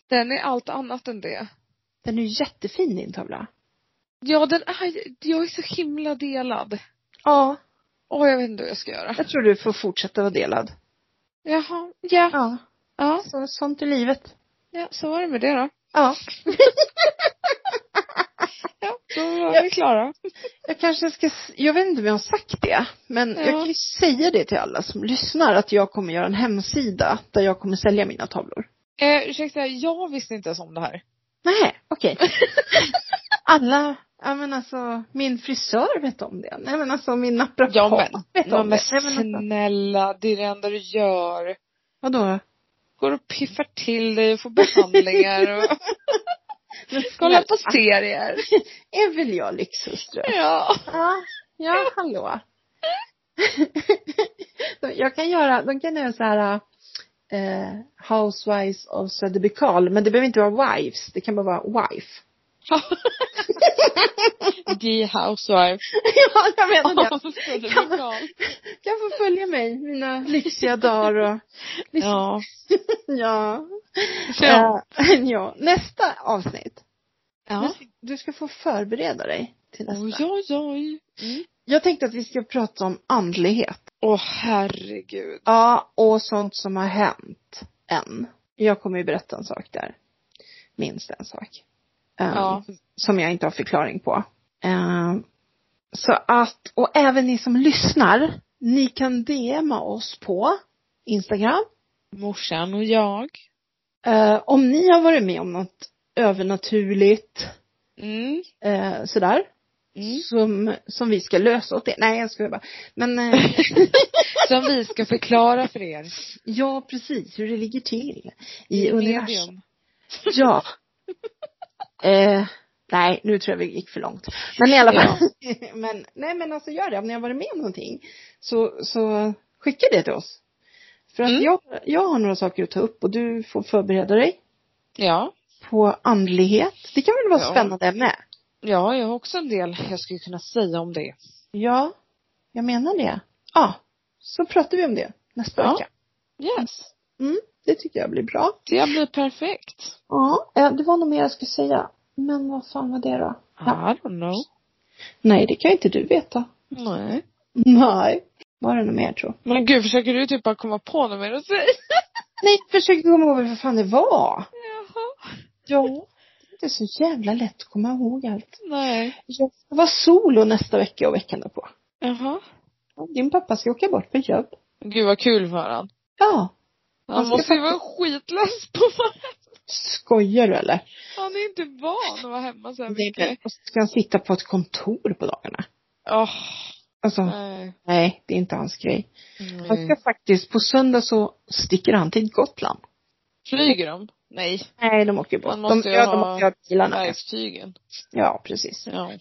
A: den är allt annat än det.
B: Den är ju jättefin din tavla.
A: Ja den är, jag är så himla delad.
B: Ja.
A: Åh jag vet inte hur jag ska göra.
B: Jag tror du får fortsätta vara delad.
A: Jaha, ja.
B: Ja.
A: Ja,
B: Så, sånt är livet.
A: ja så var det med det då.
B: Ja.
A: Ja, då var vi klara.
B: Jag kanske ska, s- jag vet inte om jag har sagt det, men
A: Ja.
B: jag kan ju säga det till alla som lyssnar att jag kommer göra en hemsida där jag kommer sälja mina tavlor.
A: Eh, ursäkta, jag visste inte ens om det här.
B: Nej, okej. alla, ja men alltså, min frisör vet om det. Nej men alltså min naprapat
A: Ja men,
B: vet
A: ja,
B: om
A: men
B: det. Nej, men alltså,
A: snälla, det är det enda du gör.
B: vadå?
A: Går och piffar till dig och får behandlingar och
B: Men
A: kollar
B: snälla,
A: på serier.
B: Är väl jag lyxhustru?
A: Ja.
B: Ja, ja hallå. De- jag kan göra, de kan göra så här eh, Housewives of Söderbykarl, men det behöver inte vara wives, det kan bara vara wife.
A: The housewife.
B: ja, jag menar det.
A: Så det
B: Kan-
A: blir bra.
B: Kan få följa mig mina lyxiga dagar och liksom,
A: Ja.
B: ja.
A: Ja.
B: Ja. ja. Nästa avsnitt.
A: ja.
B: Du, du ska få förbereda dig till nästa.
A: Oj, oj, oj. Mm.
B: Jag tänkte att vi ska prata om andlighet.
A: Åh herregud.
B: Ja, och sånt som har hänt än. Jag kommer ju berätta en sak där. Minst en sak. Ehm,
A: Ja.
B: Som jag inte har förklaring på. Ehm, så att, och även ni som lyssnar, ni kan DMa oss på Instagram.
A: Morsan och jag.
B: Eh, om ni har varit med om något övernaturligt,
A: Mm.
B: eh, sådär.
A: Mm.
B: Som, som vi ska lösa åt er. Nej, jag skojar bara. Men eh,
A: Som vi ska förklara för er.
B: ja, precis, hur det ligger till i,
A: I
B: universum.
A: medium.
B: Ja. eh, nej, nu tror jag vi gick för långt. Men i alla fall. men, nej men alltså gör det, om ni har varit med om någonting så, så skicka det till oss. För att
A: Mm.
B: jag, jag har några saker att ta upp och du får förbereda dig
A: Ja.
B: på andlighet. Det kan väl vara
A: Ja.
B: spännande ämne?
A: Ja, jag har också en del jag skulle kunna säga om det.
B: Ja, jag menar det. Ja, så pratar vi om det nästa
A: Ja.
B: vecka. Mm,
A: Yes.
B: Det tycker jag blir bra.
A: Det blir perfekt.
B: Ja, eh, det var nog mer jag skulle säga. Men vad fan var det då? Ja.
A: I don't know.
B: Nej, det kan ju inte du veta.
A: Nej.
B: Nej. Var det något mer tror
A: Men gud, försöker du typ bara komma på något mer att säga?
B: Nej, försök komma ihåg vad fan det var.
A: Jaha.
B: Ja. Det är så jävla lätt att komma ihåg allt.
A: Nej.
B: Jag ska vara solo nästa vecka och veckan därpå.
A: Jaha.
B: Och Din pappa ska åka bort på jobb.
A: Gud vad kul för han.
B: Ja. Han
A: Han
B: ska
A: måste ju vara skitless på vad
B: Skojar du eller?
A: Han är inte van att vara hemma så här
B: Okay.
A: mycket.
B: Och så ska han sitta på ett kontor på dagarna.
A: Åh,
B: Alltså, nej,
A: nej.
B: det är inte hans grej. Han ska
A: nej.
B: faktiskt, på söndag så sticker han till Gotland.
A: Flyger de? Nej.
B: Nej, de åker bort.
A: Han
B: de,
A: måste ju
B: ja,
A: ha
B: de åker av bilarna.
A: Bergstygen.
B: Ja, precis.
A: Ja.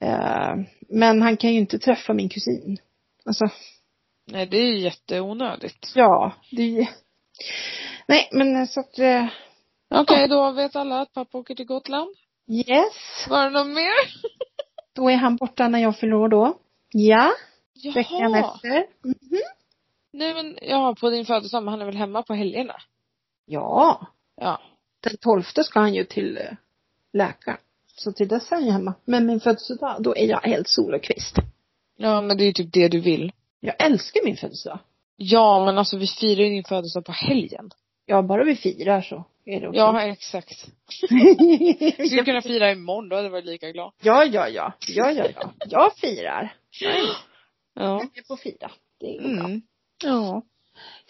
B: Eh, men han kan ju inte träffa min kusin. Alltså,
A: Nej, det är ju jätteonödigt.
B: Ja, det är ju... Nej, men så att... eh,
A: Okej, då vet alla att pappa åker till Gotland.
B: Yes.
A: Var det något mer?
B: Då är han borta när jag förlorar då. Ja. Veckan
A: Jaha.
B: efter. Mhm.
A: Nej men, ja på din födelsedag, men han är väl hemma på helgerna?
B: Ja.
A: Ja.
B: Den 12 ska han ju till eh, läkaren. Så till dess är han ju hemma. Men min födelsedag, då är jag helt sol och kvist.
A: Ja men det är ju typ det du vill.
B: Jag älskar min födelsedag.
A: Ja men alltså vi firar ju din födelsedag på helgen.
B: Ja, bara vi firar så är det okej.
A: Ja exakt. Vi skulle kunna fira imorgon, då hade jag varit lika glad.
B: ja, ja, ja. Ja, ja, ja. Jag firar.
A: Ja.
B: Jag är på fira. Det är bra.
A: Mm. Ja.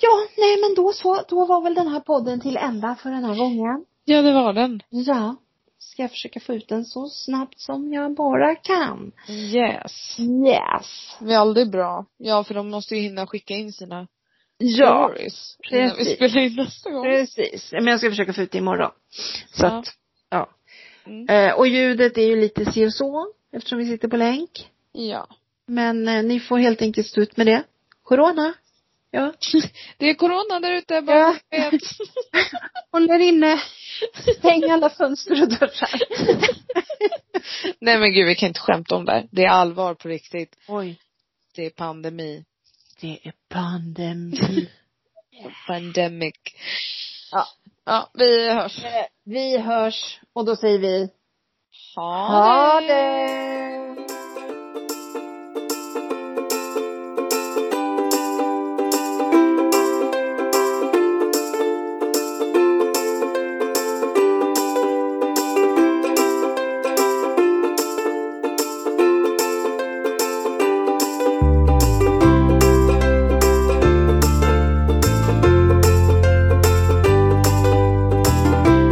B: Ja, nej men då så, då var väl den här podden till ända för den här gången.
A: Ja det var den.
B: Ja. Ska jag försöka få ut den så snabbt som jag bara kan.
A: Yes.
B: Yes.
A: Vi är aldrig bra. Ja för de måste ju hinna skicka in sina
B: Ja,
A: stories. Innan vi
B: precis.
A: spelar in nästa gång.
B: precis. Men jag ska försöka få ut det imorgon. Så
A: Ja.
B: att, ja.
A: Mm.
B: Eh, och ljudet är ju lite si och så, eftersom vi sitter på länk.
A: Ja.
B: Men eh, ni får helt enkelt stå ut med det. Corona. Ja.
A: Det är corona där ute, bara
B: Ja.
A: så ni vet.
B: Håll er inne. Stäng alla fönster och dörrar.
A: Nej men gud vi kan inte skämta om det här. Det är allvar på riktigt.
B: Oj.
A: Det är pandemi.
B: Det är pandemi.
A: Pandemic.
B: Ja.
A: Ja, vi hörs.
B: Vi hörs och då säger vi
A: Ha
B: ha det!